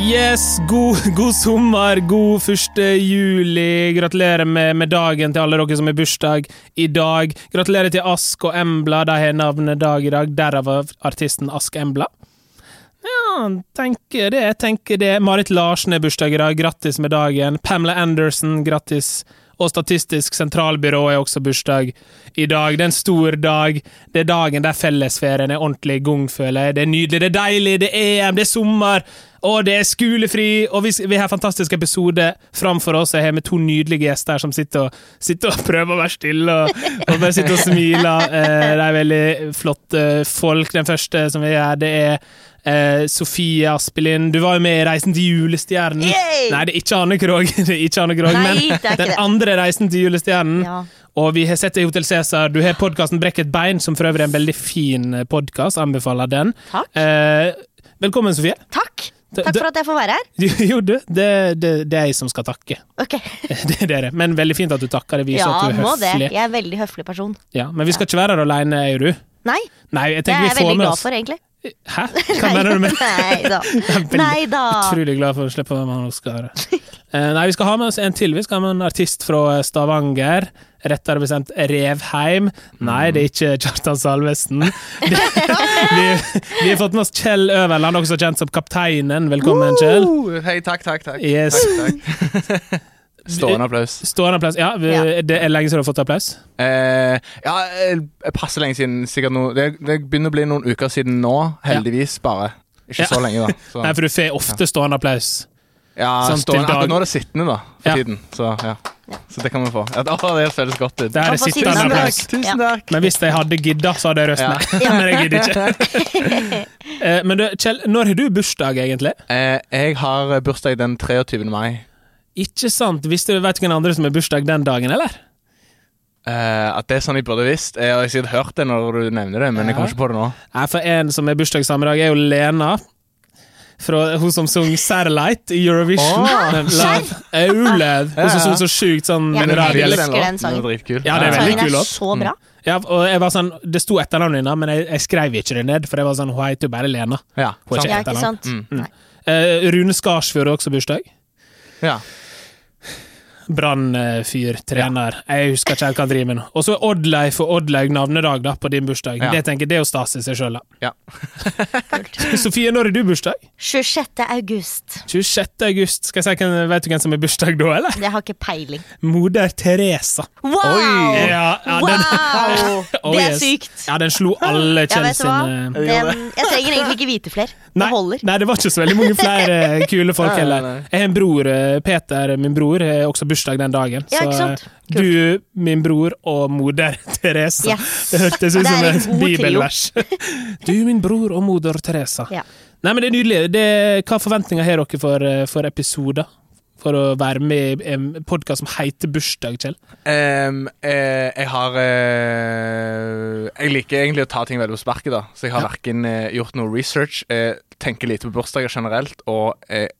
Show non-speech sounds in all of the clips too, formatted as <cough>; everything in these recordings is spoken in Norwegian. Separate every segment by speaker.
Speaker 1: Yes, god, god sommer, god 1. juli. Gratulerer med, med dagen til alle dere som har bursdag i dag. Gratulerer til Ask og Embla, de har navnet Dag i dag. Derav av artisten Ask Embla. Ja, tenker det, tenker det. Marit Larsen har bursdag i dag, grattis med dagen. Pamela Anderson, grattis. Og Statistisk sentralbyrå er også bursdag i dag. Det er en stor dag. Det er dagen der fellesferien er ordentlig i gang, føler jeg. Det er nydelig, det er deilig, det er EM, det er sommer, og det er skolefri, og vi, vi har en fantastisk episode framfor oss. Jeg har med to nydelige gjester her som sitter og, sitter og prøver å være stille og, og bare sitter og smiler. Eh, de er veldig flotte folk. Den første som vi er, det er Eh, Sofie Aspelin, du var jo med i Reisen til julestjernen.
Speaker 2: Yay!
Speaker 1: Nei, det er ikke Anne Krogh, <laughs> det er ikke Anne Krogh
Speaker 2: Nei,
Speaker 1: men
Speaker 2: det er ikke
Speaker 1: den
Speaker 2: det.
Speaker 1: andre Reisen til julestjernen.
Speaker 2: Ja.
Speaker 1: Og vi har sett det i Hotell Cæsar. Du har podkasten Brekk et bein, som for øvrig er en veldig fin podkast. Anbefaler den.
Speaker 2: Takk.
Speaker 1: Eh, velkommen, Sofie. <laughs>
Speaker 2: Takk.
Speaker 1: Det-
Speaker 2: Takk
Speaker 1: det-
Speaker 2: for at jeg får være her.
Speaker 1: Jo, du, det, det, det er jeg som skal takke. <laughs>
Speaker 2: Ok,
Speaker 1: Det er dere. Men veldig fint at du takker. Det viser
Speaker 2: Ja,
Speaker 1: at du er
Speaker 2: må det.
Speaker 1: høflig.
Speaker 2: Jeg er en veldig høflig person.
Speaker 1: Ja, men vi skal ikke være her alene, er du?
Speaker 2: Nei,
Speaker 1: Nei, jeg tenker
Speaker 2: det er
Speaker 1: vi
Speaker 2: jeg
Speaker 1: får
Speaker 2: veldig
Speaker 1: med
Speaker 2: glad
Speaker 1: oss
Speaker 2: for, egentlig.
Speaker 1: Hæ? Hva mener du med
Speaker 2: <laughs> Nei da.
Speaker 1: Jeg er veldig-
Speaker 2: Nei da.
Speaker 1: Utrolig glad for å slippe hvem han skal være. Eh, Nei, vi skal ha med oss en til. Vi skal ha med en artist fra eh, Stavanger. Rettere bestemt Revheim. Nei, det er ikke Kjartan Salvesen. Det- Vi, vi har fått med oss Kjell Øverland, også kjent som Kapteinen. Velkommen, Kjell.
Speaker 3: Uh, Hei, takk, takk, takk.
Speaker 1: Yes.
Speaker 3: takk, takk. Stående applaus.
Speaker 1: Stående applaus. Ja, vi,
Speaker 2: Ja.
Speaker 1: det er lenge siden du har fått applaus.
Speaker 3: Eh, ja, eh, passe lenge siden. Sikkert noe det, det begynner å bli noen uker siden nå, heldigvis bare. Ikke
Speaker 1: Ja.
Speaker 3: så
Speaker 1: <laughs>
Speaker 3: lenge, da. Så,
Speaker 1: Nei, for du får ofte stående applaus.
Speaker 3: ja,
Speaker 1: sant, til
Speaker 3: stående,
Speaker 1: dag-
Speaker 3: akkurat nå er det sittende, da, for
Speaker 1: Ja.
Speaker 3: tiden. Så, ja. så det kan vi få. Ja, å, det føles godt ut.
Speaker 1: Det her er
Speaker 2: Man får sitte
Speaker 1: sittende
Speaker 2: med
Speaker 1: applaus.
Speaker 2: applaus.
Speaker 3: Tusen takk.
Speaker 1: Men hvis jeg hadde gidda, så hadde jeg røstnet. <laughs> Men jeg gidder ikke. Eh, Men du, Kjell, når har du bursdag, egentlig?
Speaker 3: Eh, jeg har eh, bursdag den 23. mai.
Speaker 1: Ikke sant. Visste du vet du hvem andre som har bursdag den dagen, eller?
Speaker 3: Eh, at det er sånn jeg burde visst. Jeg har sikkert hørt det når du nevner det, men jeg
Speaker 1: Ja.
Speaker 3: kommer ikke på det nå.
Speaker 1: Nei, for en som har bursdag samme dag, er jo Lena. Fra hun som sang 'Satellite' i Eurovision.
Speaker 3: Åh,
Speaker 1: Den <laughs> love, Olav. Hun som
Speaker 3: Ah. Ja,
Speaker 1: sang
Speaker 3: ja.
Speaker 1: så sjukt sånn med
Speaker 2: Ja, men
Speaker 1: radio-
Speaker 2: jeg elsker
Speaker 3: låten.
Speaker 2: den sangen.
Speaker 3: Den er dritkul.
Speaker 1: Ja, det er veldig
Speaker 2: Sangen
Speaker 1: kul
Speaker 2: er
Speaker 1: låt. Mm.
Speaker 2: så bra.
Speaker 1: Ja, og jeg var sånn, Det sto etternavnet hennes, men jeg, jeg skrev ikke det ned, for jeg var sånn, hun heter jo bare Lena.
Speaker 3: Ja,
Speaker 1: Hun er kjent.
Speaker 3: sant.
Speaker 2: Ja, ikke sant?
Speaker 3: Mm.
Speaker 2: Nei.
Speaker 1: Eh, Rune Skarsfjord har også bursdag.
Speaker 3: Ja.
Speaker 1: Brannfyr, trener. Jeg husker ikke helt hva han driver med nå. Og så er Oddleif og Oddlaug navnedag da, på din bursdag.
Speaker 3: Ja.
Speaker 1: Det tenker jeg, det er jo stas i seg sjøl, da.
Speaker 3: Ja.
Speaker 2: <laughs>
Speaker 1: Sofie, når har du bursdag?
Speaker 2: 26. august.
Speaker 1: 26. august. Skal jeg si, hvem- Vet du hvem som er bursdag da, eller?
Speaker 2: Jeg har ikke peiling.
Speaker 1: Moder Teresa.
Speaker 2: Wow!
Speaker 3: Oi.
Speaker 1: Ja, ja, den,
Speaker 2: Wow!
Speaker 1: Oh,
Speaker 2: Det er
Speaker 1: yes.
Speaker 2: sykt.
Speaker 1: ja, den slo alle
Speaker 2: Ja,
Speaker 1: Kjell
Speaker 2: vet du hva?
Speaker 1: sine
Speaker 2: Den, jeg trenger egentlig ikke vite flere. Det
Speaker 1: nei,
Speaker 2: holder.
Speaker 1: nei, det var ikke så veldig mange
Speaker 2: <laughs>
Speaker 1: flere kule folk
Speaker 3: Nei, nei,
Speaker 1: heller.
Speaker 3: nei.
Speaker 1: Jeg har en bror, eh, Peter, min bror, har også bursdag den dagen.
Speaker 2: Ja, ikke sant?
Speaker 1: eh, du, min bror og moder <laughs> Teresa.
Speaker 2: Yes.
Speaker 1: Det hørtes ut
Speaker 2: Det er
Speaker 1: som et
Speaker 2: en god trio. <laughs>
Speaker 1: bibelvers. Du, min bror og moder Teresa.
Speaker 2: Ja.
Speaker 1: Nei, men det er nydelig. Det, hva forventninger har dere for, eh, for episoder? For å være med i en podkast som heter Bursdag, Kjell?
Speaker 3: Ehm, eh, jeg har eh, Jeg liker egentlig å ta ting veldig på sparket, da. Så jeg har
Speaker 1: Ja.
Speaker 3: hverken eh, gjort noe research, eh, tenker lite på bursdager generelt, og jeg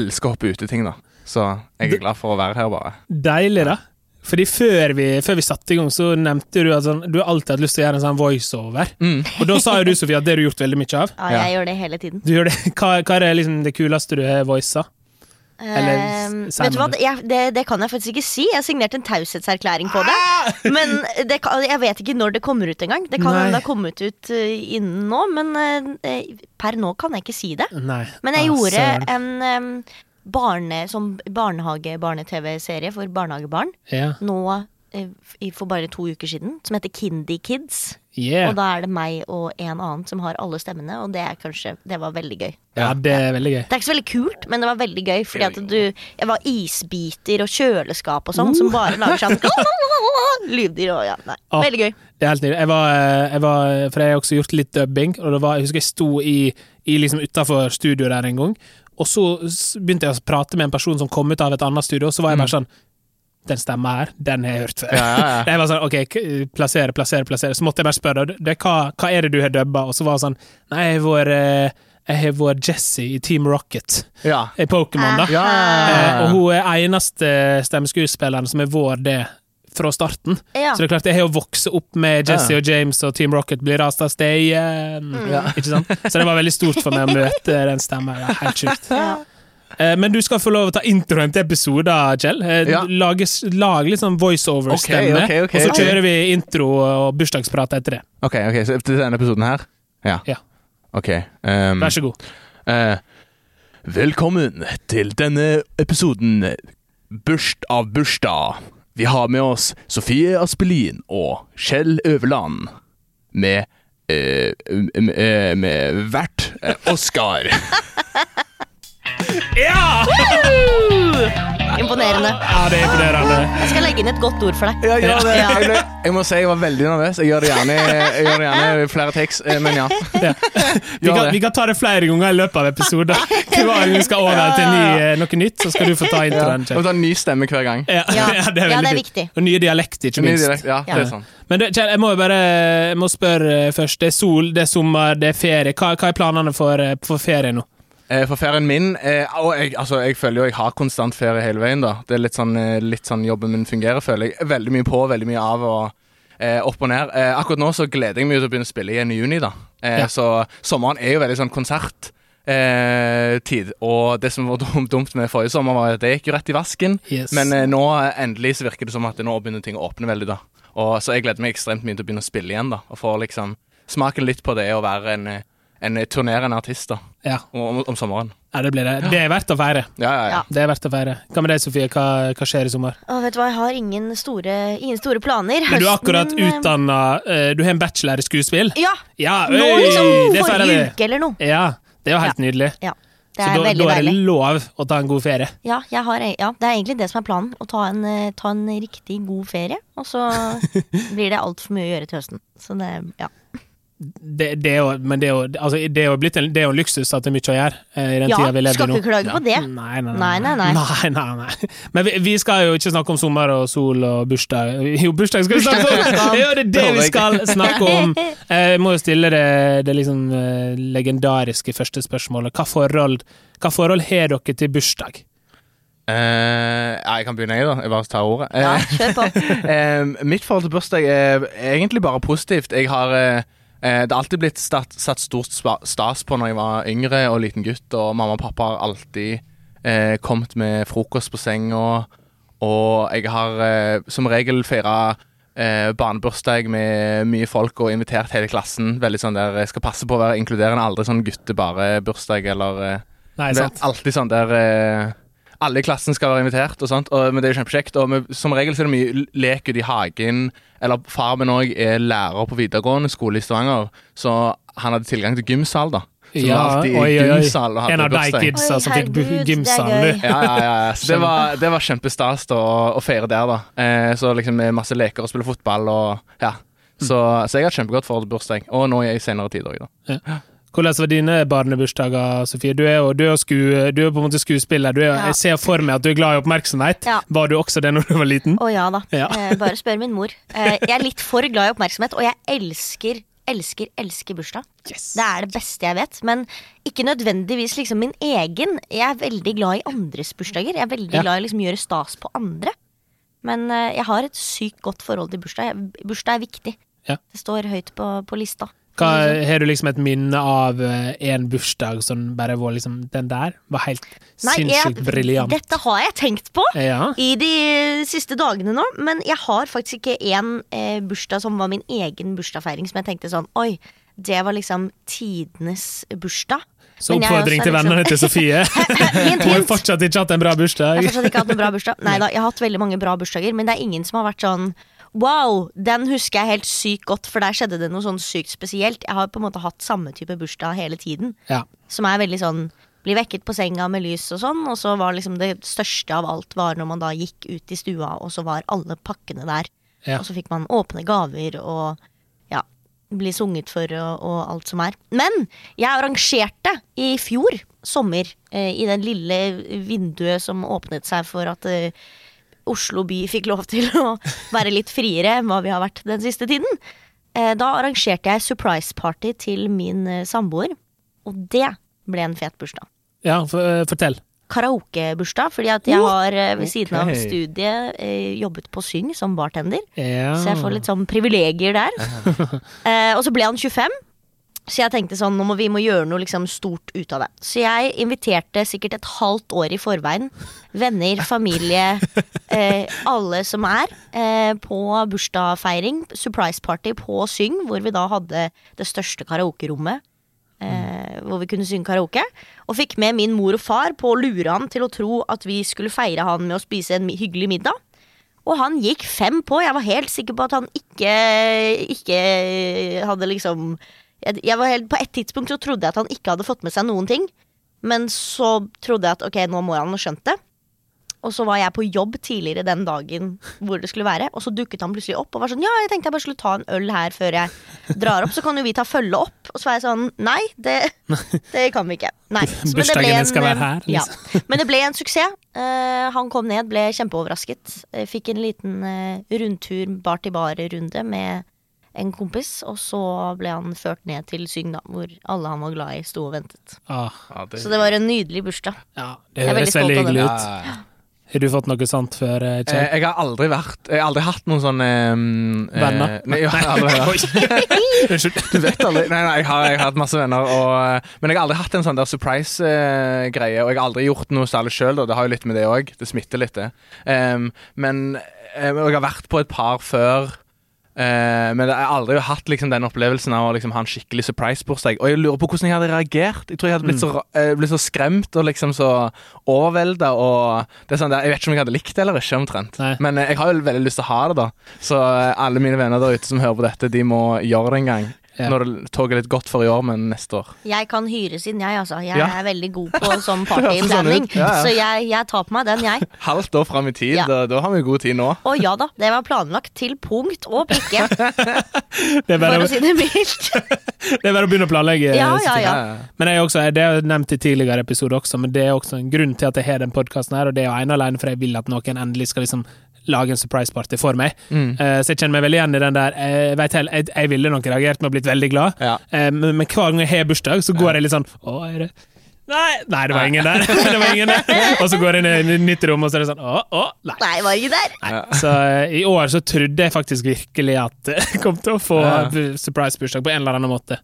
Speaker 3: elsker å hoppe ut i ting, da. Så jeg er glad for å være her, bare.
Speaker 1: Deilig, da. Fordi før vi, før vi satte i gang, så nevnte du at sånn, du har alltid hatt lyst til å gjøre en sånn voiceover. Og da sa jo du, Sofie, at det har du gjort veldig mye av.
Speaker 2: Ja,
Speaker 3: Ja.
Speaker 2: jeg gjør det hele tiden.
Speaker 1: Du gjør det. Hva, hva er liksom det kuleste du har voisa? Eller s-
Speaker 2: Ehm,
Speaker 1: si
Speaker 2: vet du hva,
Speaker 1: noe.
Speaker 2: det- jeg, det, det kan jeg faktisk ikke si. Jeg signerte en taushetserklæring på
Speaker 1: Ah!
Speaker 2: det. Men det, kan- jeg vet ikke når det kommer ut engang. Det kan
Speaker 1: Nei.
Speaker 2: hende det har kommet ut eh, innen nå, men eh, per nå kan jeg ikke si det.
Speaker 1: Nei.
Speaker 2: Men jeg
Speaker 1: Ah,
Speaker 2: gjorde
Speaker 1: søren.
Speaker 2: en em, barne, som barnehage-barne-TV-serie for barnehagebarn
Speaker 1: Ja.
Speaker 2: nå eh, i- for bare to uker siden, som heter Kindy Kids. Og
Speaker 1: Yeah.
Speaker 2: da er det meg og en annen som har alle stemmene, og det, er kanskje, det var veldig gøy.
Speaker 1: ja, det er veldig gøy.
Speaker 2: Det er ikke så veldig kult, men det var veldig gøy. Fordi at du, Jeg var isbiter og kjøleskap og sånn, som bare lager sånn <laughs> Lyddyr og ja. Nei.
Speaker 1: Ah.
Speaker 2: Veldig gøy.
Speaker 1: Det er helt nydelig. Jeg var, eh, jeg var, for jeg har også gjort litt dubbing, og det var, jeg husker jeg sto i, i liksom utafor studio der en gang, og så s- begynte jeg å prate med en person som kom ut av et annet studio, og så var jeg bare sånn Den stemma her, den har jeg hørt før.
Speaker 3: Mm. Ja, ja, ja.
Speaker 1: <laughs> Jeg var sånn, ok, k- plassere, plassere, plassere. Så måtte jeg bare spørre, det, det, hva, hva er det du har dubba? Og så var det sånn, nei, jeg har vært, eh, jeg har vært Jesse i Team Rocket,
Speaker 3: Ja.
Speaker 1: i Pokémon, da.
Speaker 3: <laughs> Ja.
Speaker 1: Eh, og hun er eneste stemmeskuespilleren som har vært det fra starten.
Speaker 2: Ja.
Speaker 1: Så det er klart, jeg har jo vokst opp med Jesse
Speaker 3: Ja.
Speaker 1: og James og Team Rocket blir rasta steien.
Speaker 2: Mm.
Speaker 3: Ja.
Speaker 1: <laughs> Ikke sant? Så det var veldig stort for meg å møte den stemmen. Det er helt sjukt.
Speaker 2: Ja.
Speaker 1: Eh, Men du skal få lov å ta introen til episoder, Kjell. Eh,
Speaker 3: Ja.
Speaker 1: Lage, s- lage litt sånn voiceover-stemme,
Speaker 3: Ok, ok, ok,
Speaker 1: og så
Speaker 3: ok.
Speaker 1: kjører vi intro og bursdagsprat etter det.
Speaker 3: OK, ok, så til denne episoden her? Ja.
Speaker 1: Ja.
Speaker 3: OK. ehm,
Speaker 1: Vær så god.
Speaker 3: eh, velkommen til denne episoden Børst av bursdag. Vi har med oss Sofie Aspelin og Kjell Øverland med eh, m- eh, med vert eh, Oskar.
Speaker 1: Ja!
Speaker 2: Imponerende.
Speaker 1: ja! Det er imponerende.
Speaker 2: Jeg skal legge inn et godt ord for deg.
Speaker 3: <laughs> Ja, gjør det.
Speaker 2: Ja.
Speaker 3: Jeg, ble, jeg må si jeg var veldig nervøs. Jeg gjør det gjerne, jeg gjør det gjerne flere triks, eh, men
Speaker 1: <laughs>
Speaker 3: ja. <laughs>
Speaker 1: Ja. Vi,
Speaker 3: Gjør
Speaker 1: kan,
Speaker 3: det.
Speaker 1: vi kan ta det flere ganger i løpet av
Speaker 3: <laughs>
Speaker 1: episoder. Hver gang vi skal over til ny, eh, noe nytt, så skal du få ta
Speaker 3: ja.
Speaker 1: introen.
Speaker 3: Jeg må
Speaker 1: Kjell.
Speaker 3: ta en ny stemme hver gang.
Speaker 1: Ja, <laughs>
Speaker 2: Ja. Ja, det er
Speaker 1: veldig fint.
Speaker 2: viktig.
Speaker 1: Og nye dialekter, ikke
Speaker 3: Ny
Speaker 1: minst.
Speaker 3: direkt, ja, det
Speaker 2: Ja.
Speaker 3: er sant.
Speaker 1: Men du, Kjell, jeg må jo bare jeg må spørre eh, først. Det er sol, det er sommer, det er ferie. Hva, hva er planene for, eh, for ferie nå?
Speaker 3: Eh, For ferien min eh, Og jeg, altså, jeg føler jo jeg har konstant ferie hele veien, da. Det er litt sånn, eh, litt sånn jobben min fungerer, føler jeg. Veldig mye på, veldig mye av og eh, opp og ned. Eh, akkurat nå så gleder jeg meg jo til å begynne å spille igjen i juni, da. Eh,
Speaker 1: Ja.
Speaker 3: Så sommeren er jo veldig sånn konsert. Eh, tid. Og det som var <laughs> dum- dumt med forrige sommer, var at det gikk jo rett i vasken.
Speaker 1: Yes.
Speaker 3: Men eh, nå eh, endelig så virker det som at nå begynner ting å åpne veldig, da. Og, så jeg gleder meg ekstremt mye til å begynne å spille igjen, da. Og få liksom smaken litt på det å være en, eh, en eh, turnerende artist, da.
Speaker 1: Ja,
Speaker 3: Om, om sommeren.
Speaker 1: ja det blir det. Det er verdt å feire.
Speaker 3: Ja, ja, ja.
Speaker 2: Ja.
Speaker 1: Det er verdt å feire. Hva med deg, Sofie? Hva, hva skjer i sommer?
Speaker 2: Å, vet du hva, jeg har ingen store, ingen store planer.
Speaker 1: Men du er akkurat
Speaker 2: Høsten, eh,
Speaker 1: utdanna Du har en bachelor i skuespill?
Speaker 2: Ja.
Speaker 1: Ja,
Speaker 2: Nå
Speaker 1: øy,
Speaker 2: liksom
Speaker 1: det feirer vi.
Speaker 2: forrige uke eller noe.
Speaker 1: Ja, det er jo helt nydelig.
Speaker 2: Ja, det
Speaker 1: Så
Speaker 2: er
Speaker 1: da, da
Speaker 2: veldig
Speaker 1: er det
Speaker 2: deilig.
Speaker 1: lov å ta en god ferie.
Speaker 2: Ja, jeg har, e- ja, det er egentlig det som er planen. Å ta en, eh, ta en riktig god ferie. Og så
Speaker 1: <laughs>
Speaker 2: blir det altfor mye å gjøre til høsten. Så det, ja.
Speaker 1: Det, det er jo, men det er jo, altså, det er jo blitt en, det er jo en luksus at det er mye å gjøre eh, i den
Speaker 2: ja
Speaker 1: tida vi lever i nå.
Speaker 2: skal ikke klage på det.
Speaker 1: Nei, nei, nei.
Speaker 2: Nei, nei, nei.
Speaker 1: <laughs> Nei, nei, nei. Men vi, vi skal jo ikke snakke om sommer og sol og bursdag. Jo, bursdag skal vi snakke om! <laughs> Ja, det er det vi skal snakke
Speaker 2: <laughs>
Speaker 1: om. Jeg må jo stille det, det liksom eh, legendariske første spørsmålet. Hva forhold, hva forhold har dere til bursdag?
Speaker 3: Eh, ja, jeg kan begynne, jeg, da. Jeg bare tar ordet.
Speaker 2: Ja,
Speaker 3: Eh,
Speaker 2: kjør på.
Speaker 3: eh, <laughs> mitt forhold til bursdag er egentlig bare positivt. Jeg har eh, eh, Det har alltid blitt stat, satt stort spa- stas på når jeg var yngre og liten gutt, og mamma og pappa har alltid eh, kommet med frokost på senga, og jeg har eh, som regel feira eh, barnebursdag med mye folk og invitert hele klassen. Veldig sånn der Jeg skal passe på å være inkluderende, aldri sånn gutte-bare-bursdag eller eh,
Speaker 1: Nei,
Speaker 3: Det
Speaker 1: sant?
Speaker 3: er alltid sånn der eh, alle i klassen skal være invitert, og sånt, og, men det er jo kjempekjekt. Og vi- Som regel så er det mye l- lek ute i hagen. Eller far min òg er lærer på videregående skole i Stavanger, så han hadde tilgang til gymsal, da. Så det var alltid gymsal og hadde
Speaker 1: En av de
Speaker 3: bursdag.
Speaker 1: kidsa
Speaker 2: Oi,
Speaker 1: som fikk bu-
Speaker 2: herregud, det er
Speaker 1: gymsal
Speaker 2: gøy.
Speaker 1: nå.
Speaker 3: Ja, ja, ja, ja. Så det var, det var kjempestas da, å, å feire der, da. Eh, så liksom med masse leker og spille fotball og ja.
Speaker 1: Mm.
Speaker 3: Så, så jeg har et kjempegodt forhold til bursdag, og nå i senere tid òg, da.
Speaker 1: Hvordan var dine barnebursdager, Sofie? Du er jo, du er jo, sku, du er jo på en måte skuespiller. Du er, jo-
Speaker 2: Ja.
Speaker 1: Jeg ser for meg at du er glad i oppmerksomhet.
Speaker 2: Ja.
Speaker 1: Var du også det når du var liten?
Speaker 2: Å ja da.
Speaker 1: Ja.
Speaker 2: Eh, bare spør min mor. Eh, jeg er litt for glad i oppmerksomhet, og jeg elsker, elsker, elsker bursdag.
Speaker 1: Yes.
Speaker 2: Det er det beste jeg vet, men ikke nødvendigvis liksom min egen. Jeg er veldig glad i andres bursdager. Jeg er veldig
Speaker 1: Ja.
Speaker 2: glad i liksom å gjøre stas på andre. Men eh, jeg har et sykt godt forhold til bursdag. Jeg- Bursdag er viktig.
Speaker 1: Ja.
Speaker 2: Det står høyt på, på lista.
Speaker 1: Hva, har du liksom et minne av eh, en bursdag som bare var liksom Den der var helt
Speaker 2: Nei,
Speaker 1: sinnssykt
Speaker 2: jeg-
Speaker 1: briljant.
Speaker 2: Dette har jeg tenkt på.
Speaker 1: Ja.
Speaker 2: i de siste dagene nå, men jeg har faktisk ikke én eh, bursdag som var min egen bursdagsfeiring, som jeg tenkte sånn Oi, det var liksom tidenes bursdag.
Speaker 1: Så
Speaker 2: Men jeg er
Speaker 1: oppfordring
Speaker 2: også
Speaker 1: til
Speaker 2: liksom-
Speaker 1: vennene
Speaker 2: <laughs>
Speaker 1: til Sofie.
Speaker 2: Hint,
Speaker 1: Hun <laughs> har
Speaker 2: hint.
Speaker 1: fortsatt ikke hatt en bra
Speaker 2: Jeg har
Speaker 1: bursdag.
Speaker 2: fortsatt ikke hatt noen bra bursdag. Nei da, jeg har hatt veldig mange bra bursdager, men det er ingen som har vært sånn Wow, den husker jeg helt sykt godt, for der skjedde det noe sånn sykt spesielt. Jeg har på en måte hatt samme type bursdag hele tiden.
Speaker 1: Ja.
Speaker 2: som er veldig sånn bli vekket på senga med lys og sånn, og så var liksom det største av alt var når man da gikk ut i stua, og så var alle pakkene der.
Speaker 1: Ja.
Speaker 2: Og så fikk man åpne gaver og ja, bli sunget for og, og alt som er. Men jeg arrangerte i fjor sommer, eh, i den lille vinduet som åpnet seg for at eh, Oslo by fikk lov til å være litt friere enn hva vi har vært den siste tiden. Eh, Da arrangerte jeg surprise-party til min eh, samboer, og det ble en fet bursdag.
Speaker 1: ja, for, eh, fortell.
Speaker 2: Karaokebursdag, fordi at jeg har eh, ved siden av
Speaker 3: Ok.
Speaker 2: studiet eh, jobbet på Syng som bartender.
Speaker 1: Ja.
Speaker 2: Så jeg får litt sånn privilegier der. Eh, og så ble han 25. Så jeg tenkte sånn, nå må vi må gjøre noe liksom stort ut av det. Så jeg inviterte sikkert et halvt år i forveien venner, familie, eh, alle som er, eh, på bursdagsfeiring. Surprise party på Syng, hvor vi da hadde det største karaokerommet. Eh, hvor vi kunne synge karaoke. Og fikk med min mor og far på å lure han til å tro at vi skulle feire han med å spise en mi- hyggelig middag. Og han gikk fem på. Jeg var helt sikker på at han ikke, ikke hadde liksom jeg, jeg var helt, På et tidspunkt så trodde jeg at han ikke hadde fått med seg noen ting. Men så trodde jeg at ok, nå må han ha skjønt det. Og så var jeg på jobb tidligere den dagen hvor det skulle være. Og så dukket han plutselig opp og var sånn Ja, jeg tenkte jeg bare skulle ta en øl her før jeg drar opp. Så kan jo vi ta følge opp. Og så var jeg sånn Nei, det, det kan vi ikke. Nei. Så, men det ble
Speaker 1: Bursdagen din
Speaker 2: en,
Speaker 1: skal være her, liksom.
Speaker 2: Ja. Men det ble en suksess. Eh, han kom ned, ble kjempeoverrasket. Eh, fikk en liten eh, rundtur bar til bar-runde med en kompis. Og så ble han ført ned til Syng, da, hvor alle han var glad i, sto og ventet.
Speaker 1: Ah,
Speaker 3: Ja, det,
Speaker 2: Så det var en nydelig bursdag.
Speaker 1: ja, det
Speaker 2: Jeg er veldig
Speaker 1: høres
Speaker 2: stolt
Speaker 1: veldig
Speaker 2: av den.
Speaker 1: hyggelig ut.
Speaker 3: Ja, ja, ja.
Speaker 1: Har du fått noe sånt før, eh,
Speaker 3: Eh,
Speaker 1: Kjell?
Speaker 3: Jeg har aldri vært Jeg har aldri hatt noen sånn eh, eh,
Speaker 1: Venner?
Speaker 3: <laughs> Nei, jeg har aldri
Speaker 1: <laughs>
Speaker 2: <laughs>
Speaker 3: vært
Speaker 1: Unnskyld.
Speaker 3: Du vet aldri. Nei, nei, jeg har, jeg har hatt masse venner. Og, men jeg har aldri hatt en sånn der surprise-greie. og jeg har aldri gjort noe særlig sjøl. Det har jo litt med det òg. Det smitter litt, det. Ehm, men eh, og jeg har vært på et par før. eh, men jeg har aldri hatt liksom, den opplevelsen av å liksom, ha en skikkelig surprise-bursdag. Og jeg lurer på hvordan jeg hadde reagert. Jeg tror jeg hadde blitt, så,
Speaker 1: Mm.
Speaker 3: ra- eh, blitt så skremt og liksom så overvelda. Og det er sånn der, jeg vet ikke om jeg hadde likt det eller ikke, omtrent.
Speaker 1: Nei.
Speaker 3: Men eh, jeg har jo veldig lyst til å ha det, da. Så eh, alle mine venner der ute som hører på dette, de må gjøre det en gang.
Speaker 1: Ja.
Speaker 3: Når det toget er litt godt for i år, men neste år.
Speaker 2: Jeg kan hyres inn, jeg, altså. Jeg
Speaker 3: Ja.
Speaker 2: er veldig god på sånn
Speaker 3: høres sånn
Speaker 2: partyplanning.
Speaker 3: ut. Ja, ja.
Speaker 2: Så jeg, jeg tar på meg den, jeg.
Speaker 3: Halvt år fram i tid,
Speaker 2: Ja.
Speaker 3: da, da har vi god tid nå.
Speaker 2: Og ja da, det var planlagt til punkt og prikke,
Speaker 1: Det er bare,
Speaker 2: for å si det mildt. <laughs>
Speaker 1: det er bare å begynne å planlegge.
Speaker 2: Ja, ja, ja.
Speaker 1: Men jeg er også, Det har jeg nevnt i tidligere episoder også, men det er også en grunn til at jeg har den podkasten her, og det er jo ene og alene for jeg vil at noen endelig skal liksom lage en surprise party for meg.
Speaker 3: Mm.
Speaker 1: Eh, så jeg kjenner meg veldig igjen i den der eh, Jeg vet heller, jeg, jeg ville nok reagert med å blitt veldig glad,
Speaker 3: Ja.
Speaker 1: Eh, men, men hver gang jeg har bursdag, så går jeg litt sånn Å, er det Nei, nei, det var ingen der! <laughs> det var ingen der. Og så går jeg inn i et nytt rom, og så er det sånn Å, å, nei.
Speaker 2: Nei, var ikke der.
Speaker 1: Nei. Så eh, i år så trodde jeg faktisk virkelig at <laughs> jeg kom til å få
Speaker 3: Ja.
Speaker 1: bu- surprise-bursdag på en eller annen måte.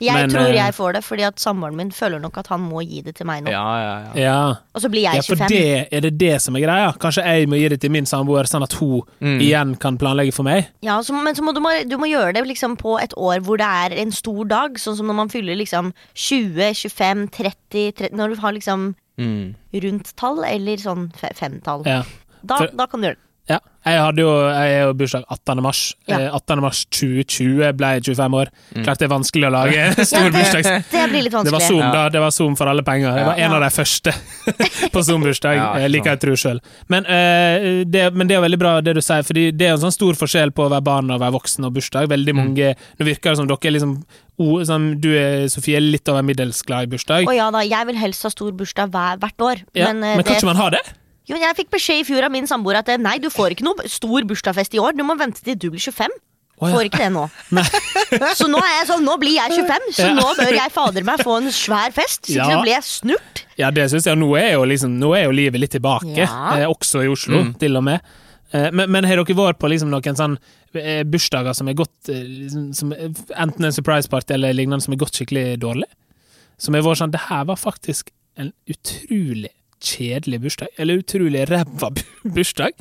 Speaker 2: Jeg
Speaker 1: Men,
Speaker 2: tror
Speaker 1: eh,
Speaker 2: jeg får det, fordi at samboeren min føler nok at han må gi det til meg nå.
Speaker 3: Ja, ja, ja.
Speaker 1: Ja.
Speaker 2: Og så blir jeg
Speaker 1: Ja, for
Speaker 2: 25.
Speaker 1: det er det det som er greia. Kanskje jeg må gi det til min samboer, sånn at hun igjen kan planlegge for meg.
Speaker 2: Ja, så, men så må du, må, du må gjøre det liksom på et år hvor det er en stor dag, sånn som når man fyller liksom 20, 25, 30, 30 Når du har liksom
Speaker 3: Mm.
Speaker 2: rundt tall, eller sånn fe- femtall.
Speaker 1: Ja.
Speaker 2: Da,
Speaker 1: for-
Speaker 2: da kan du gjøre det.
Speaker 1: Ja. Jeg hadde jo jeg er jo bursdag 18. mars.
Speaker 2: Ja.
Speaker 1: Eh, 18. mars 2020 ble jeg 25 år. Klart det er vanskelig å lage stor
Speaker 2: Ja,
Speaker 1: bursdags...
Speaker 2: det, det blir litt
Speaker 1: Det var
Speaker 2: vanskelig.
Speaker 1: Zoom,
Speaker 3: Ja.
Speaker 1: da. Det var Zoom for alle penger. Jeg var en
Speaker 2: Ja.
Speaker 1: av de første <laughs> på Zoom-bursdag,
Speaker 3: Ja, ikke
Speaker 1: eh, liker jeg å tro sjøl. Men, eh, det- men det er jo veldig bra det du sier, Fordi det er jo en sånn stor forskjell på å være barn og være voksen og bursdag.
Speaker 3: Mm.
Speaker 1: Veldig mange, Nå virker det som dere er liksom o- som Du er, Sofie, er litt over middels glad i bursdag.
Speaker 2: Og ja da, jeg vil helst ha stor bursdag hver, hvert år.
Speaker 1: Ja,
Speaker 2: men
Speaker 1: men,
Speaker 2: eh,
Speaker 1: kan
Speaker 2: det,
Speaker 1: ikke man ha det?
Speaker 2: jo, men jeg fikk beskjed i fjor av min samboer at eh, nei, du får ikke noe stor bursdagsfest i år. Du må vente til du blir 25.
Speaker 1: Å, ja.
Speaker 2: Får ikke
Speaker 1: <laughs>
Speaker 2: det nå. <laughs> så nå er jeg sånn, nå blir jeg 25, så
Speaker 1: Ja.
Speaker 2: nå bør jeg fader meg få en svær fest. Så ikke
Speaker 1: Ja.
Speaker 2: nå blir jeg snurt.
Speaker 1: Ja, det synes jeg. og Nå er jo, liksom, nå er jo livet litt tilbake,
Speaker 2: Ja.
Speaker 1: eh, også i Oslo, til og med. Eh, men, men har dere vært på liksom noen sånn eh, bursdager som er gått eh, liksom, som, eh, Enten en surprise party eller lignende som er gått skikkelig dårlig? Som har vært sånn Det her var faktisk en utrolig kjedelig bursdag. Eller utrolig ræva bu- bursdag.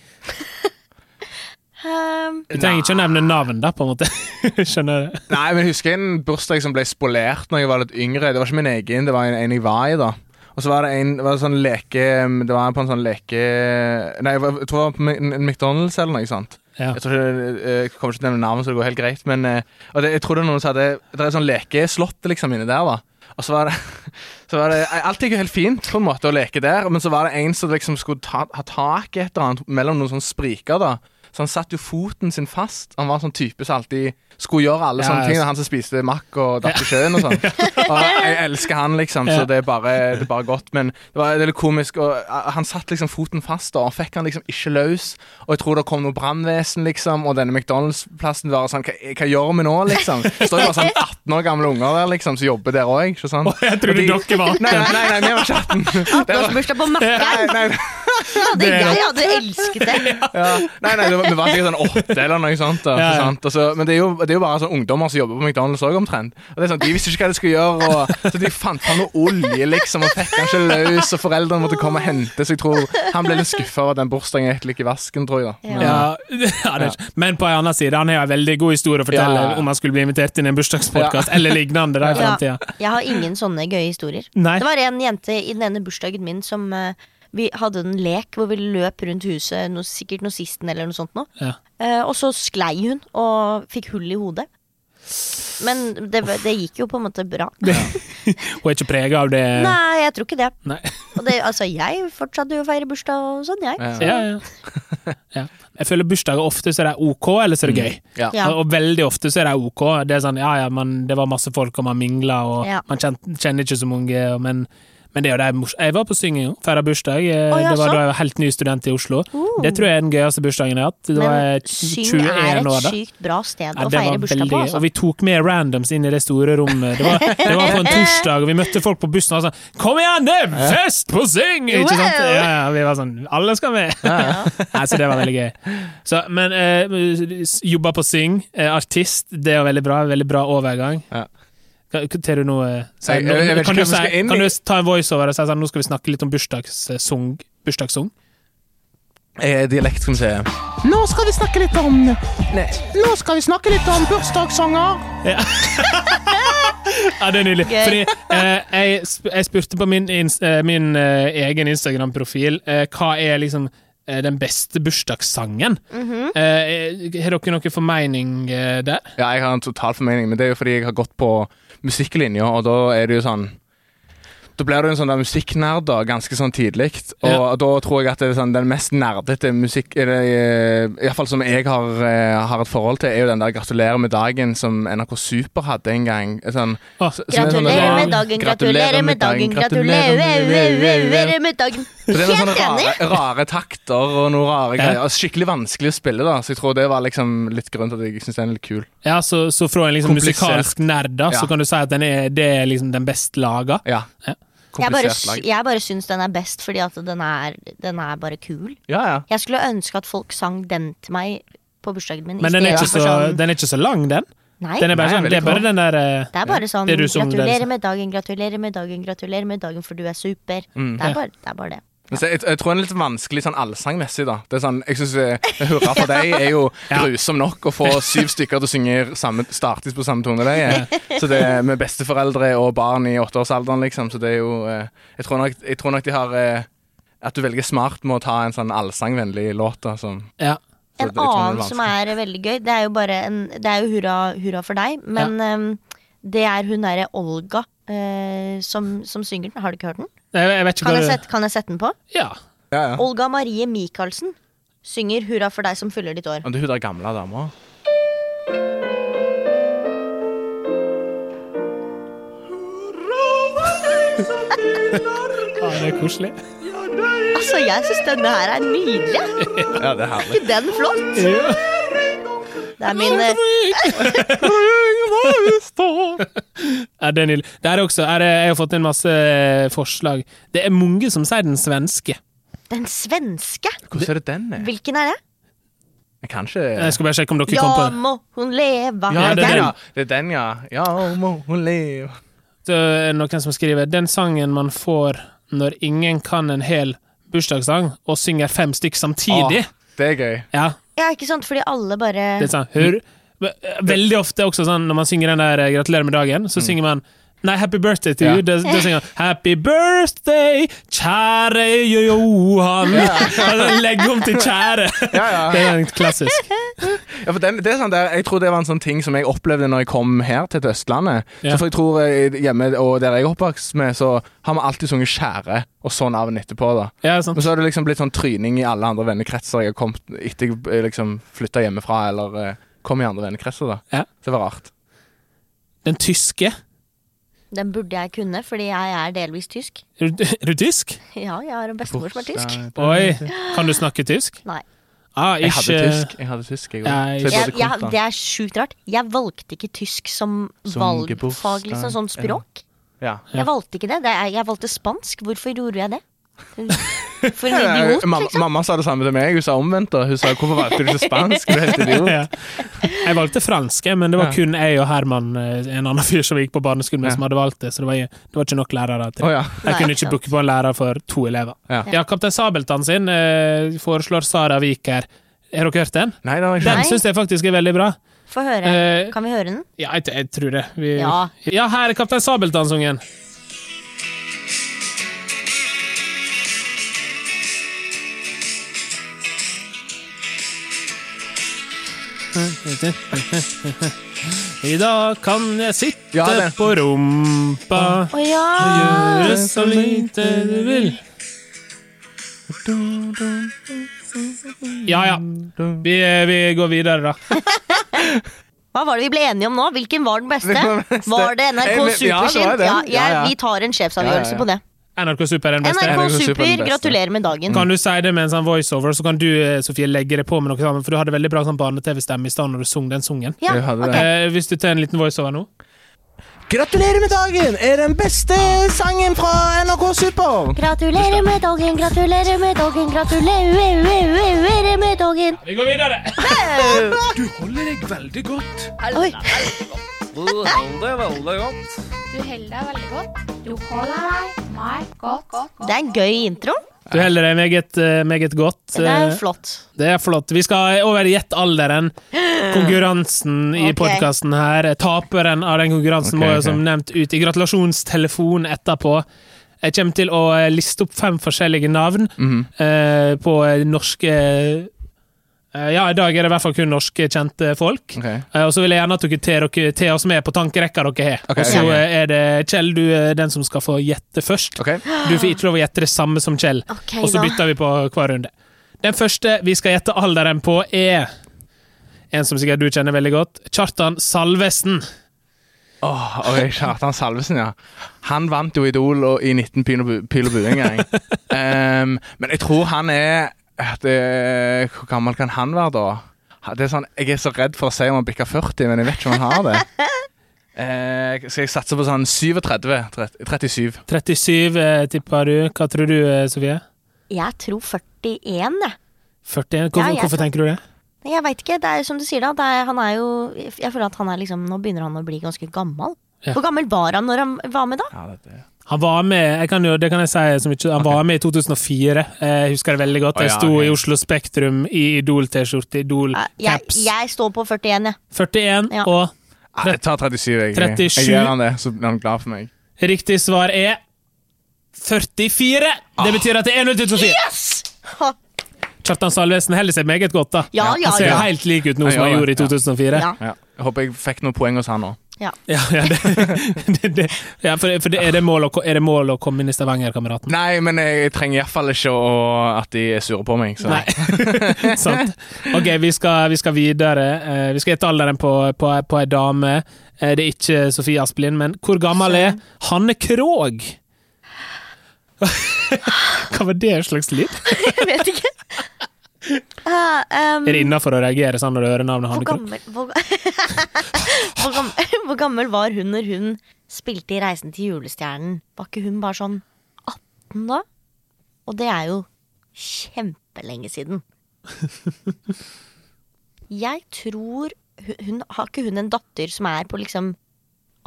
Speaker 2: Ehm,
Speaker 1: Du trenger ikke å nevne navn, da, på en måte. <laughs> Skjønner du?
Speaker 3: Nei, men jeg husker en bursdag som ble spolert når jeg var litt yngre. Det var ikke min egen, det var en, en jeg var i, da. Og så var det en det var sånn leke Det var på en sånn leke Nei, jeg, var, jeg tror det var på en- en McDonald's eller noe sånt.
Speaker 1: Ja.
Speaker 3: Jeg, tror ikke, eh, jeg kommer ikke til å nevne navnet, så det går helt greit. Men eh, og det, jeg tror det er noen som hadde Det er et sånn lekeslott liksom inni der, da. Og så var det, <laughs> så var det eh, Alt gikk jo helt fint på en måte å leke der, men så var det en som liksom skulle ta, ha tak i et eller annet mellom noen sånne spriker, da. Så han satte jo foten sin fast. Han var en sånn type som alltid skulle gjøre alle
Speaker 1: Ja,
Speaker 3: sånne
Speaker 1: ja.
Speaker 3: ting. Han som spiste makk og datt i sjøen og sånn.
Speaker 1: <laughs>
Speaker 3: Og jeg elsker han, liksom,
Speaker 1: Ja.
Speaker 3: så det er bare, det er bare godt. Men det var litt komisk. Og eh, han satt liksom foten fast, da, og fikk han liksom ikke løs. Og jeg tror det kom noe brannvesen, liksom, og denne McDonald's-plassen var sånn Hva, hva gjør vi nå, liksom? Så står det
Speaker 1: <laughs>
Speaker 3: bare sånn 18 år gamle unger der, liksom, som jobber der òg, ikke sant?
Speaker 1: Jeg trodde
Speaker 3: Og de-
Speaker 1: dere var <laughs>
Speaker 3: Nei, nei, nei, vi var ikke 18. Det var-
Speaker 2: 18-årsbursdag på Møkkern.
Speaker 3: Nei, nei,
Speaker 2: hadde, jeg hadde elsket det.
Speaker 3: Ja. Nei, nei, det var, vi var sikkert sånn åtte eller noe sånt. Da,
Speaker 1: Ja, ja.
Speaker 3: sant? Og så- men det er, jo, det er jo bare sånn ungdommer som jobber på McDonald's òg, omtrent. Og det er sånn, De visste ikke hva de skulle gjøre, og, så de fant fram noe olje, liksom, og fikk han ikke løs, og foreldrene måtte komme og hente, så jeg tror han ble litt skuffa over at den bursdagen gikk litt i vasken, tror jeg. da. Men-
Speaker 1: Ja, <laughs> ja, det er ikke- Men på en annen side, han har en veldig god historie å fortelle
Speaker 3: Ja.
Speaker 1: om han skulle bli invitert inn i en bursdagspodkast eller lignende. Da, i
Speaker 2: Ja.
Speaker 1: fremtiden.
Speaker 2: Jeg har ingen sånne gøye historier.
Speaker 1: Nei.
Speaker 2: Det var en jente i den ene bursdagen min som eh, Vi hadde en lek hvor vi løp rundt huset, noe, sikkert nazisten eller noe sånt noe.
Speaker 1: Ja.
Speaker 2: Eh, og så sklei hun og fikk hull i hodet. Men det, det gikk jo på en måte bra.
Speaker 1: Hun er ikke prega av det.
Speaker 2: Nei, jeg tror ikke det.
Speaker 1: Nei.
Speaker 2: Og det, altså, jeg fortsatte jo å feire bursdag og sånn, jeg.
Speaker 3: Ja.
Speaker 1: Ja, ja. ja. Jeg føler bursdager ofte så er det OK, eller så er det gøy.
Speaker 3: Ja.
Speaker 2: Ja.
Speaker 1: Og, og veldig ofte så er det OK. Det er sånn, ja, ja, man, det var masse folk, og man mingla, og
Speaker 2: Ja.
Speaker 1: man kjent, kjenner ikke så mange. og- Men, men det er jo det mors- Jeg var på Synging, feira bursdag. Eh,
Speaker 2: Å, ja, sånn.
Speaker 1: det var
Speaker 2: så.
Speaker 1: da jeg var helt ny student i Oslo.
Speaker 2: Uh.
Speaker 1: Det tror jeg er den gøyeste bursdagen jeg har hatt. Det var
Speaker 2: Men
Speaker 1: jeg
Speaker 2: Syng er
Speaker 1: 21 år
Speaker 2: et
Speaker 1: da.
Speaker 2: sykt bra sted
Speaker 1: Ja,
Speaker 2: å
Speaker 1: det
Speaker 2: feire
Speaker 1: var
Speaker 2: bursdag på.
Speaker 1: veldig- Og
Speaker 2: Altså.
Speaker 1: vi tok med randoms inn i det store rommet. Det var, det var
Speaker 2: <laughs>
Speaker 1: på en torsdag, og vi møtte folk på bussen og var sånn Kom igjen, det er fest på Syng! Ikke sant?
Speaker 2: Wow!
Speaker 1: Ja, ja, vi var sånn Alle skal med! <laughs> Nei, så det var veldig gøy. Så, men eh, jobba på Syng, eh, artist, det var veldig bra. Veldig bra overgang.
Speaker 3: Ja.
Speaker 1: Kan- kan- Ter du noe eh, si-
Speaker 3: Jeg- jeg- jeg vet ikke
Speaker 1: kan, du
Speaker 3: hva vi skal
Speaker 1: si,
Speaker 3: inn i.
Speaker 1: kan du ta en voiceover og si sånn, nå skal vi snakke litt om eh, bursdagssung? Bursdagssung?
Speaker 3: Eh, dialekt, skal vi se.
Speaker 4: Nå skal vi snakke litt om Nå skal vi snakke litt om bursdagssanger.
Speaker 1: Ja, det er nydelig.
Speaker 2: Gøy.
Speaker 1: Fordi eh, jeg, sp jeg spurte på min, ins eh, min eh, egen Instagram-profil eh, hva er liksom eh, den beste bursdagssangen.
Speaker 2: Mhm.
Speaker 1: eh, har dere noen formening eh, der?
Speaker 3: Ja, jeg har en total formening, men det er jo fordi jeg har gått på musikklinja, og da er det jo sånn da blir du en sånn der musikknerd da, ganske sånn tidlig. Og
Speaker 1: Ja.
Speaker 3: da tror jeg at det er sånn, den mest nerdete musikk eh, Iallfall som jeg har, eh, har et forhold til, er jo den der 'Gratulerer med dagen' som NRK Super hadde en gang. Sånn,
Speaker 1: Å,
Speaker 3: så- som er sånn-
Speaker 2: Gratulerer
Speaker 1: Ja.
Speaker 2: med dagen, gratulerer med dagen, gratulerer med dagen.
Speaker 3: For det er noen
Speaker 2: Helt
Speaker 3: sånne
Speaker 2: enig.
Speaker 3: rare, rare takter og noen rare
Speaker 1: Ja.
Speaker 3: greier. Og Skikkelig vanskelig å spille, da. Så jeg tror det var liksom litt grunn til at jeg syns den er litt kul.
Speaker 1: Ja, så, så fra en liksom
Speaker 3: Komplisert.
Speaker 1: musikalsk nerd, da,
Speaker 3: Ja.
Speaker 1: så kan du si at den er, det er liksom den best laga.
Speaker 3: Ja.
Speaker 1: Ja.
Speaker 2: Jeg bare,
Speaker 3: Komplisert lag.
Speaker 2: jeg bare syns den er best fordi at den er, den er bare kul.
Speaker 3: Ja, ja.
Speaker 2: Jeg skulle ønske at folk sang den til meg på bursdagen min.
Speaker 1: Men den er,
Speaker 2: istedenfor
Speaker 1: ikke så,
Speaker 2: sånn-
Speaker 1: den er ikke så lang, den.
Speaker 2: Nei,
Speaker 1: den er bare
Speaker 3: Nei,
Speaker 1: sånn, det er
Speaker 3: veldig
Speaker 1: bare
Speaker 3: kort.
Speaker 1: den der eh,
Speaker 2: det er bare sånn
Speaker 1: Det er du som- det er
Speaker 2: gratulerer
Speaker 1: liksom-
Speaker 2: med dagen, gratulerer med dagen, gratulerer med dagen, for du er super.
Speaker 1: Mm.
Speaker 2: det, er bare, det er bare det.
Speaker 3: Men så Jeg, jeg tror den er litt vanskelig sånn allsangmessig, da. Det er sånn, jeg synes,
Speaker 2: <laughs>
Speaker 3: eh, Hurra for deg er jo grusom nok å få syv stykker til å synge samme, startes på samme toneleie. Så det er med besteforeldre og barn i åtteårsalderen, liksom. Så det er jo eh, Jeg tror nok, jeg tror nok de har eh, At du velger smart med å ta en sånn allsangvennlig låt, da. Som,
Speaker 1: ja.
Speaker 3: så
Speaker 2: En
Speaker 3: det- jeg tror den
Speaker 2: annen som er veldig gøy, det er jo bare en, Det er jo hurra, hurra for deg, men ehm, det er hun derre Olga eh, som, som synger den. Har du ikke hørt den?
Speaker 1: Jeg, jeg vet ikke
Speaker 2: Kan
Speaker 1: hva
Speaker 2: jeg
Speaker 1: du
Speaker 2: sette, kan jeg sette den på?
Speaker 1: Ja.
Speaker 3: Ja, ja.
Speaker 2: Olga Marie Michaelsen synger 'Hurra for deg som fyller ditt år'.
Speaker 3: Og det er hun der gamle dama.
Speaker 1: ja, det er koselig.
Speaker 2: <laughs> Altså, jeg syns denne her er nydelig.
Speaker 3: Ja, det er herlig.
Speaker 2: Er ikke den flott?
Speaker 1: Ja.
Speaker 2: Det er min eh,
Speaker 1: Ja, det er nydelig. Det er også, er, det- jeg har fått en masse eh, forslag. Det er mange som sier den svenske.
Speaker 2: Den svenske.
Speaker 3: Hvordan er det den er?
Speaker 2: Hvilken er det?
Speaker 3: Jeg kan ikke
Speaker 1: Jeg skal bare sjekke om dere kom på
Speaker 2: Ja,
Speaker 1: det.
Speaker 2: må hun leva.
Speaker 3: Ja,
Speaker 1: Ja,
Speaker 3: det
Speaker 1: det
Speaker 3: er
Speaker 1: er
Speaker 3: den, ja. Det er den, ja. Ja, må hun leve
Speaker 1: Så er det Noen som skriver Den sangen man får når ingen kan en hel bursdagssang, og synger fem stykk samtidig.
Speaker 3: Åh, Det er gøy.
Speaker 1: Ja,
Speaker 2: Ja, ikke sant? Fordi alle bare
Speaker 1: det er sånn hør, Veldig ofte også sånn når man synger den der eh, 'Gratulerer med dagen', så synger man Nei, 'Happy birthday to you'.
Speaker 3: Mm. Ja.
Speaker 1: Da, da synger man 'Happy birthday, kjære Johan'. <laughs> Altså, Legg om til 'kjære'.
Speaker 3: Ja, ja.
Speaker 1: Det er en klassisk.
Speaker 3: Ja, for den, det er sånn der, jeg tror det var en sånn ting som jeg opplevde når jeg kom her til til Østlandet.
Speaker 1: Ja.
Speaker 3: Så for jeg tror eh, hjemme og der jeg er oppvokst med, så har vi alltid sunget 'Skjære' og så navn etterpå. da.
Speaker 1: Ja, sant.
Speaker 3: Men så har det liksom blitt sånn tryning i alle andre vennekretser jeg har kommet etter jeg eh, liksom flytta hjemmefra eller eh, kom i andre vennekretser. da.
Speaker 1: Ja.
Speaker 3: Det var rart.
Speaker 1: Den tyske.
Speaker 2: Den burde jeg kunne, fordi jeg er delvis tysk. <laughs>
Speaker 1: Er du, er du tysk?
Speaker 2: Ja, jeg har en bestemor som er tysk.
Speaker 1: Oi, kan du snakke tysk?
Speaker 2: Nei.
Speaker 1: Ah,
Speaker 3: Jeg hadde
Speaker 1: ikke- <laughs>
Speaker 3: tysk, jeg hadde tysk, jeg
Speaker 1: Nei.
Speaker 3: òg.
Speaker 2: Jeg, jeg, det er sjukt rart. Jeg valgte ikke tysk som
Speaker 3: Som
Speaker 2: valgfag,
Speaker 3: geburtsdag,
Speaker 2: liksom sånn språk.
Speaker 3: Ja.
Speaker 1: Ja.
Speaker 2: Jeg valgte ikke det. det er, jeg valgte spansk. Hvorfor gjorde jeg det? For en idiot,
Speaker 3: Eh, mamma,
Speaker 2: liksom.
Speaker 3: mamma sa det samme til meg. Hun sa omvendt. da. Hun sa 'hvorfor valgte du ikke spansk?' Du er helt
Speaker 4: <laughs>
Speaker 3: idiot.
Speaker 1: Ja. Jeg valgte franske, men det var
Speaker 3: Ja.
Speaker 1: kun jeg og Herman, eh, en annen <laughs> fyr som gikk på barneskolen med,
Speaker 3: Ja.
Speaker 1: som hadde valgt det, så det var, det var ikke nok lærere til
Speaker 3: Å ja.
Speaker 1: Jeg
Speaker 2: Nei,
Speaker 1: kunne
Speaker 2: ikke
Speaker 1: ikke
Speaker 2: sant.
Speaker 1: plukke på en lærer for to elever.
Speaker 3: Ja.
Speaker 1: Ja, Kaptein Sabeltann sin eh, foreslår Sara Vik her. Har dere hørt den?
Speaker 3: Nei, det har jeg ikke.
Speaker 1: Den
Speaker 2: Nei.
Speaker 1: syns jeg faktisk er veldig bra.
Speaker 2: Få høre.
Speaker 1: Eh,
Speaker 2: Kan vi høre den?
Speaker 1: ja, jeg, jeg tror det. Vi,
Speaker 2: Ja.
Speaker 1: ja, her er Kaptein Sabeltann-sungen. <laughs> I dag kan jeg sitte
Speaker 3: Ja, den.
Speaker 1: på rumpa
Speaker 2: Å ja!
Speaker 1: Gjøre så lite du vil. Ja, ja. Vi, eh, vi går videre, da.
Speaker 2: Hva var det vi ble enige om nå? Hvilken var den beste?
Speaker 3: Hvilken var den beste?
Speaker 2: Var det
Speaker 3: Eh,
Speaker 2: NRK
Speaker 3: men- ja, det
Speaker 2: Superskinn?
Speaker 3: var den.
Speaker 2: Ja, jeg-
Speaker 3: Ja, ja.
Speaker 2: Vi tar en sjefsavgjørelse
Speaker 3: Ja, ja, ja.
Speaker 2: på det.
Speaker 1: NRK Super er den beste.
Speaker 2: NRK
Speaker 3: NRK Super er den
Speaker 2: Super,
Speaker 3: beste.
Speaker 2: gratulerer med dagen.
Speaker 1: Kan du si det med en sånn voiceover, så kan du eh, Sofie, legge det på med noe sammen, for du hadde veldig bra sånn barne-TV-stemme i stedet når du sang den sungen.
Speaker 2: Ja,
Speaker 3: Jeg hadde det.
Speaker 2: ok.
Speaker 1: Eh, hvis du tar en liten voiceover nå.
Speaker 4: Gratulerer med dagen er den beste sangen fra NRK Super.
Speaker 2: Gratulerer med dagen, gratulerer med dagen, gratulerer med dagen.
Speaker 1: Vi går videre!
Speaker 3: Du holder deg veldig godt.
Speaker 2: Oi.
Speaker 5: Du holder deg veldig godt. Du holder deg meg godt. godt.
Speaker 2: Det er en gøy intro.
Speaker 1: Du heller deg meget, eh, meget godt.
Speaker 2: Det er
Speaker 1: eh,
Speaker 2: flott.
Speaker 1: Det er flott. Vi skal over i gjett alderen. Konkurransen i
Speaker 2: Ok.
Speaker 1: podkasten her. Taperen av den konkurransen
Speaker 3: Ok,
Speaker 1: må jo
Speaker 3: ok.
Speaker 1: som nevnt ut i gratulasjonstelefon etterpå. Jeg kommer til å eh, liste opp fem forskjellige navn
Speaker 3: Mhm.
Speaker 1: eh, på eh, norske eh, Ja, i dag er det i hvert fall kun norske kjente folk.
Speaker 3: Ok.
Speaker 1: Eh, og så vil jeg gjerne at dere tar dere tar oss med på tankerekka dere har.
Speaker 3: Ok,
Speaker 1: og så
Speaker 3: ok.
Speaker 1: eh, er det Kjell, du er den som skal få gjette først.
Speaker 3: Ok.
Speaker 1: Du får ikke lov å gjette det samme som Kjell.
Speaker 2: Ok,
Speaker 1: Og så
Speaker 2: da.
Speaker 1: bytter vi på hver runde. Den første vi skal gjette alderen på, er en som sikkert du kjenner veldig godt. Kjartan Salvesen.
Speaker 3: Åh, ok, Kjartan Salvesen, ja. Han vant jo Idol og, i 19 pil og bu- pil og bue
Speaker 4: <laughs>
Speaker 3: en gang. Ehm, men jeg tror han er at det, Hvor gammel kan han være, da? Ha- Det er sånn, jeg er så redd for å si om han bikker 40, men jeg vet ikke om han har
Speaker 2: <laughs>
Speaker 3: det. Eh, skal jeg satse på sånn 37? Tret- 37.
Speaker 1: 37, eh, tipper du. Hva tror du, eh, Sofie?
Speaker 2: Jeg tror 41, jeg.
Speaker 1: 41? Hvorfor,
Speaker 2: Ja, jeg
Speaker 1: hvorfor
Speaker 2: tror-
Speaker 1: tenker du det?
Speaker 2: Men Jeg veit ikke. Det er som du sier, da. Det er, han er jo Jeg føler at han er liksom Nå begynner han å bli ganske gammel.
Speaker 1: Ja.
Speaker 2: Hvor gammel var han når han var med, da?
Speaker 3: Ja, det, det.
Speaker 1: Han var med jeg kan jo, det kan jeg si så mye, han var med i 2004. Jeg husker det veldig godt.
Speaker 3: Å,
Speaker 1: Jeg
Speaker 3: ja,
Speaker 1: sto
Speaker 3: ok.
Speaker 1: i Oslo Spektrum i Idol-T-skjorte,
Speaker 2: Jeg,
Speaker 1: Idol-caps.
Speaker 2: jeg står på 41, jeg. <laughs>
Speaker 1: 41
Speaker 2: Ja.
Speaker 1: og
Speaker 3: Ah, jeg tar 37, jeg.
Speaker 1: 37.
Speaker 3: Jeg gjør han det, så blir han glad for meg.
Speaker 1: Riktig svar er 44.
Speaker 3: Ah.
Speaker 1: Det betyr at det er 0 til Sofie.
Speaker 2: Ha.
Speaker 1: Kjartan Salvesen holder seg meget godt, da.
Speaker 2: Ja, ja,
Speaker 1: han ser
Speaker 2: ja.
Speaker 1: jo helt lik ut nå
Speaker 3: Ja,
Speaker 1: som han
Speaker 3: ja,
Speaker 1: gjorde i
Speaker 3: ja.
Speaker 1: 2004. Ja,
Speaker 2: Ja.
Speaker 3: Ja. Jeg håper jeg fikk noen poeng hos han nå.
Speaker 1: ja, det, <laughs> det, det, ja for, for det, er, det mål å, ko- er det mål å komme inn i Stavanger, kameraten?
Speaker 3: Nei, men jeg trenger iallfall ikke å, at de er sure på meg. Så.
Speaker 1: Nei. <laughs> Sant. Ok, vi skal, vi skal videre. Eh, vi skal gjette alderen på, på, på ei dame. Eh, det er ikke Sofie Asplin, men hvor gammel er Hanne Krogh? <laughs> Hva var det slags lyd?
Speaker 2: Jeg vet ikke.
Speaker 3: <laughs>
Speaker 2: Eh, ehm,
Speaker 1: Er det innafor å reagere sånn når du hører navnet
Speaker 2: hvor,
Speaker 1: Hanne Krogh?
Speaker 2: gammel, hvor, <laughs> hvor, gammel, <laughs> hvor gammel var hun når hun spilte i Reisen til julestjernen? Var ikke hun bare sånn 18 da? Og det er jo kjempelenge siden. Jeg tror hun, hun Har ikke hun en datter som er på liksom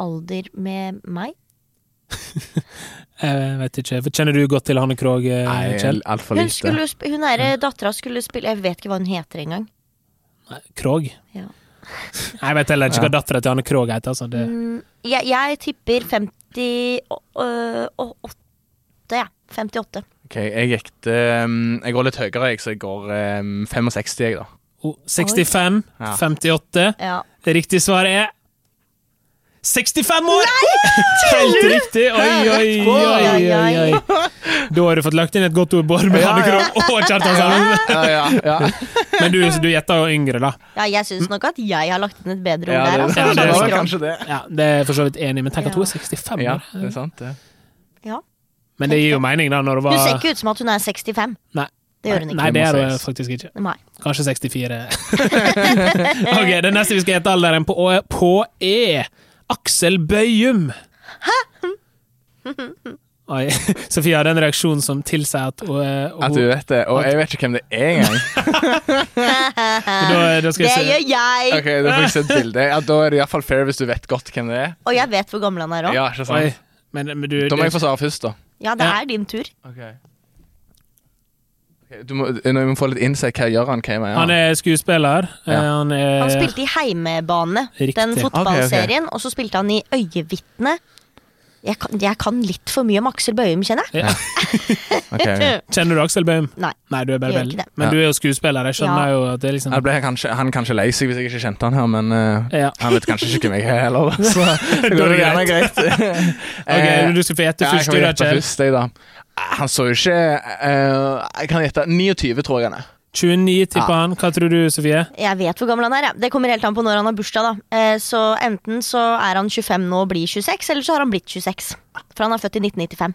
Speaker 2: alder med meg?
Speaker 1: Eh, Jeg vet ikke. Kjenner du godt til Hanne Krogh, eh, Kjell?
Speaker 3: altfor
Speaker 2: Hun,
Speaker 3: lite.
Speaker 2: skulle, jo sp- hun er, dattera skulle spille Jeg vet ikke hva hun heter engang.
Speaker 1: Krogh?
Speaker 2: Ja.
Speaker 1: <laughs> Nei, Jeg vet heller ikke hva dattera til Hanne Krogh heter. Altså.
Speaker 2: Mm.
Speaker 1: Det,
Speaker 2: Jeg, jeg tipper 50 og, øh, og 8, ja. 58.
Speaker 3: Ok, jeg gikk til um, Jeg går litt høyere, jeg, så jeg går um, 65, jeg, da.
Speaker 1: oh, 65,
Speaker 3: Ja.
Speaker 1: 58.
Speaker 2: Ja.
Speaker 1: Det riktige svaret er 65 år! <laughs> Helt riktig! Oi, oi, oi, oi, oi. Da har du fått lagt inn et godt ord, Bård, med Hanne Krogh og Kjartan
Speaker 2: Ah!
Speaker 1: Sand.
Speaker 3: Ja, ja, ja.
Speaker 1: Men du, du gjetter jo yngre, da.
Speaker 2: ja, jeg syns nok at jeg har lagt inn et bedre ord
Speaker 3: ja
Speaker 2: der.
Speaker 1: Mm. Ja, det er
Speaker 2: Altså.
Speaker 3: det, var
Speaker 1: sant.
Speaker 3: kanskje det.
Speaker 1: Ja, det er jeg for så vidt enig, i, men tenk at hun er 65
Speaker 3: Ja,
Speaker 1: år.
Speaker 3: det er sant, det.
Speaker 2: Ja.
Speaker 1: Men det gir jo mening, da, når hun
Speaker 2: Hun ser
Speaker 1: var
Speaker 2: ikke ut som at hun er 65.
Speaker 1: Nei.
Speaker 2: Det gjør hun ikke.
Speaker 1: Nei, det er hun
Speaker 3: Femogseis.
Speaker 1: faktisk ikke.
Speaker 2: Nei.
Speaker 1: Kanskje 64. <laughs> ok, Det neste vi skal gjette alderen på, E. på, er Aksel Bøyum. Oi. <laughs> Sofie hadde en reaksjon som tilsier at, eh,
Speaker 3: At du
Speaker 1: hun
Speaker 3: vet det. Og jeg vet ikke hvem det er
Speaker 2: <laughs>
Speaker 3: engang.
Speaker 1: da, da skal
Speaker 2: Det
Speaker 1: jeg se.
Speaker 2: gjør jeg!
Speaker 3: Ok, Da får jeg se et bilde. Ja, da er det iallfall fair hvis du vet godt hvem det er.
Speaker 2: Og jeg vet hvor gammel han er òg. Ja.
Speaker 3: Ja, ikke
Speaker 1: Oi.
Speaker 3: sant?
Speaker 1: Men, men du,
Speaker 3: Da må jeg
Speaker 1: det-
Speaker 3: få svare først, da.
Speaker 2: det
Speaker 1: Ja.
Speaker 2: er din tur.
Speaker 3: Ok, Du må, nå må vi få litt innsikt. Hva gjør han? Hva er med
Speaker 1: han er skuespiller. Eh,
Speaker 3: Ja.
Speaker 1: Han er
Speaker 2: Han spilte i Heimebane,
Speaker 1: Riktig.
Speaker 2: den
Speaker 1: Ok, ok.
Speaker 2: fotballserien. Og så spilte han i Øyevitne. Jeg kan, jeg kan litt for mye om Aksel Bøyum, kjenner jeg. Mm,
Speaker 1: Ja.
Speaker 3: Ok, ok.
Speaker 1: Kjenner du Aksel Baum?
Speaker 2: Nei.
Speaker 1: Nei, du er bare
Speaker 2: Jeg gjør
Speaker 1: veldig
Speaker 2: ikke det.
Speaker 1: Men
Speaker 3: Ja.
Speaker 1: du er jo skuespiller, jeg skjønner
Speaker 2: Ja.
Speaker 1: jo at det er liksom
Speaker 3: Da ble jeg kanskje, han kanskje lei seg hvis jeg ikke kjente han her, men eh,
Speaker 1: ja.
Speaker 3: han vet kanskje ikke hvem jeg er
Speaker 1: <laughs>
Speaker 3: heller. da, Så det
Speaker 1: Da er
Speaker 3: går
Speaker 1: det
Speaker 3: gjerne
Speaker 1: <laughs>
Speaker 3: greit.
Speaker 1: Ok,
Speaker 3: Eh,
Speaker 1: men Du skal få gjette
Speaker 3: ja, jeg
Speaker 1: først,
Speaker 3: kan
Speaker 1: du da,
Speaker 3: gjette
Speaker 1: Kjell.
Speaker 3: først, jeg, da. Han så jo ikke eh, Jeg kan gjette 29, tror jeg han er.
Speaker 1: 29 tipper
Speaker 3: Ja.
Speaker 1: han. Hva tror du, Sofie?
Speaker 2: Jeg vet hvor gammel han er. jeg. Det kommer helt an på når han har bursdag. da Eh, Så Enten så er han 25 nå og blir 26, eller så har han blitt 26. For han er født i 1995.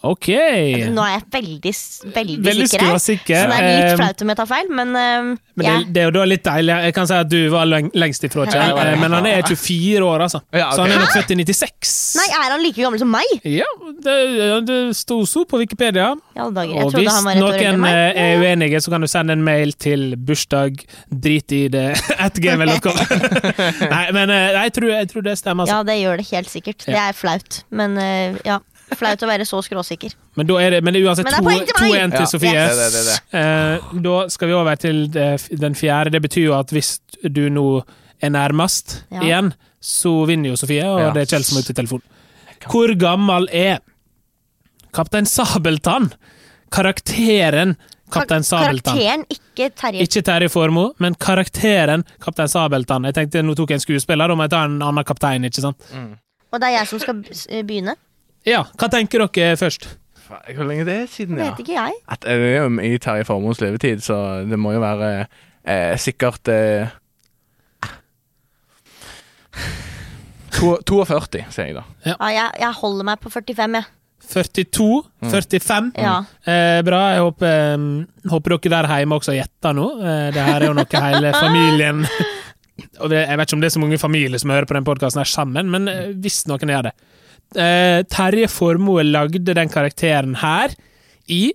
Speaker 1: OK.
Speaker 2: Nå er jeg veldig, s- veldig,
Speaker 1: Veldig
Speaker 2: sikker her. Så
Speaker 1: skråsikker.
Speaker 2: det er litt
Speaker 1: Eh,
Speaker 2: flaut om jeg tar feil, men, eh,
Speaker 1: Men
Speaker 2: ja.
Speaker 1: det, det er jo da litt deilig. Jeg kan si at du var leng lengst ifra, Kjell.
Speaker 3: Ja, ja, ja.
Speaker 1: Eh, Men han er 24 år, altså.
Speaker 3: Ja, ok.
Speaker 1: Så han er nok født i 96.
Speaker 2: Nei, er han like gammel som meg?
Speaker 1: Ja, det, det sto så på Wikipedia.
Speaker 2: I alle dager. Jeg
Speaker 1: Og
Speaker 2: trodde
Speaker 1: hvis
Speaker 2: han var rett år eldre enn
Speaker 1: noen
Speaker 2: meg.
Speaker 1: eh, er uenige, så kan du sende en mail til bursdag drit i det <laughs> at gmail.com. <laughs> Nei, men eh, jeg tror, jeg tror det stemmer. Altså.
Speaker 2: Ja, det gjør det helt sikkert. Det er flaut, men eh, ja. Flaut å være så skråsikker.
Speaker 1: Men, da er det, men det er uansett
Speaker 2: Men det er poeng til
Speaker 1: 2-1
Speaker 2: meg!
Speaker 1: til
Speaker 3: Ja,
Speaker 1: Sofie.
Speaker 2: det
Speaker 3: er det, det er det.
Speaker 1: Eh, da skal vi over til eh, f- den fjerde. Det betyr jo at hvis du nå er nærmest
Speaker 2: Ja.
Speaker 1: igjen, så vinner jo Sofie, og
Speaker 3: Ja.
Speaker 1: det er Kjell som er ute i telefonen. Hvor gammel er Kaptein Sabeltann? Karakteren <laughs> Kaptein Sabeltann.
Speaker 2: Karakteren, ikke Terje.
Speaker 1: Ikke Terje Formoe, men karakteren Kaptein Sabeltann. Jeg tenkte nå tok jeg en skuespiller, da må jeg ta en annen kaptein, ikke sant?
Speaker 2: Og det er jeg som skal b- s- eh, begynne.
Speaker 1: Ja, hva tenker dere først?
Speaker 3: Faen, Hvor lenge er det siden, ja?
Speaker 2: Vet ikke jeg.
Speaker 3: At, eh, det er jo I Terje Formoes levetid, så det må jo være eh, sikkert eh, to, 42, sier jeg da.
Speaker 2: Ja, jeg. Jeg holder meg på 45,
Speaker 1: Mm.
Speaker 2: jeg.
Speaker 1: 42?
Speaker 3: Mm.
Speaker 1: 45?
Speaker 2: Ja.
Speaker 1: Eh, bra. Jeg håper, eh, håper dere der hjemme også gjetter nå. Eh, det her er jo noe hele familien Og det, Jeg vet ikke om det er så mange familier som hører på den podkasten her sammen, men eh, hvis noen gjør det eh, Terje Formoe lagde den karakteren her i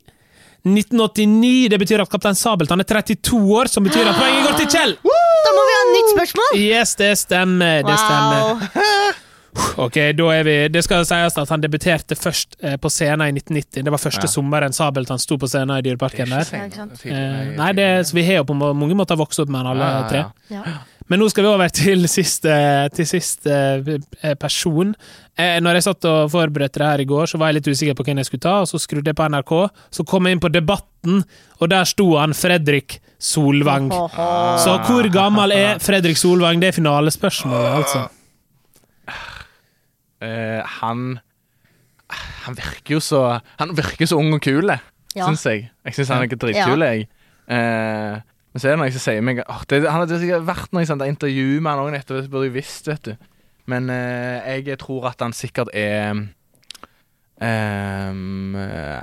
Speaker 1: 1989. Det betyr at Kaptein Sabeltann er 32 år, som betyr at poenget går til Kjell!
Speaker 2: Da må vi ha et nytt spørsmål!
Speaker 1: Yes, det stemmer. Det stemmer.
Speaker 2: Wow.
Speaker 1: Ok, da er vi Det skal sies at han debuterte først eh, på scenen i 1990. Det var første
Speaker 3: Ja.
Speaker 1: sommeren Sabeltann sto på scenen i Dyreparken der.
Speaker 2: Ja, ikke sant.
Speaker 1: Eh, nei, det, så vi har jo på må- mange måter vokst opp med han alle
Speaker 3: Ja, ja,
Speaker 1: tre.
Speaker 3: ja.
Speaker 2: Ja.
Speaker 1: Men nå skal vi over til <laughs> siste, til siste eh, person. Eh, Når jeg satt og forberedte det her i går, så var jeg litt usikker på hvem jeg skulle ta, og så skrudde jeg på NRK. Så kom jeg inn på Debatten, og der sto han Fredrik Solvang.
Speaker 2: Åhå.
Speaker 1: Så hvor gammel er Fredrik Solvang? Det er finalespørsmålet, altså.
Speaker 3: Eh, han Han virker jo så Han virker så ung og kul,
Speaker 2: Ja.
Speaker 3: syns jeg. Jeg syns han er dritkul,
Speaker 2: Ja.
Speaker 3: jeg. Eh, men så er det noe som sier meg åh, det, Han hadde sikkert vært noe sånt intervju med han òg nettopp, det burde jeg visst, vet du. Men eh, jeg tror at han sikkert er ehm, eh,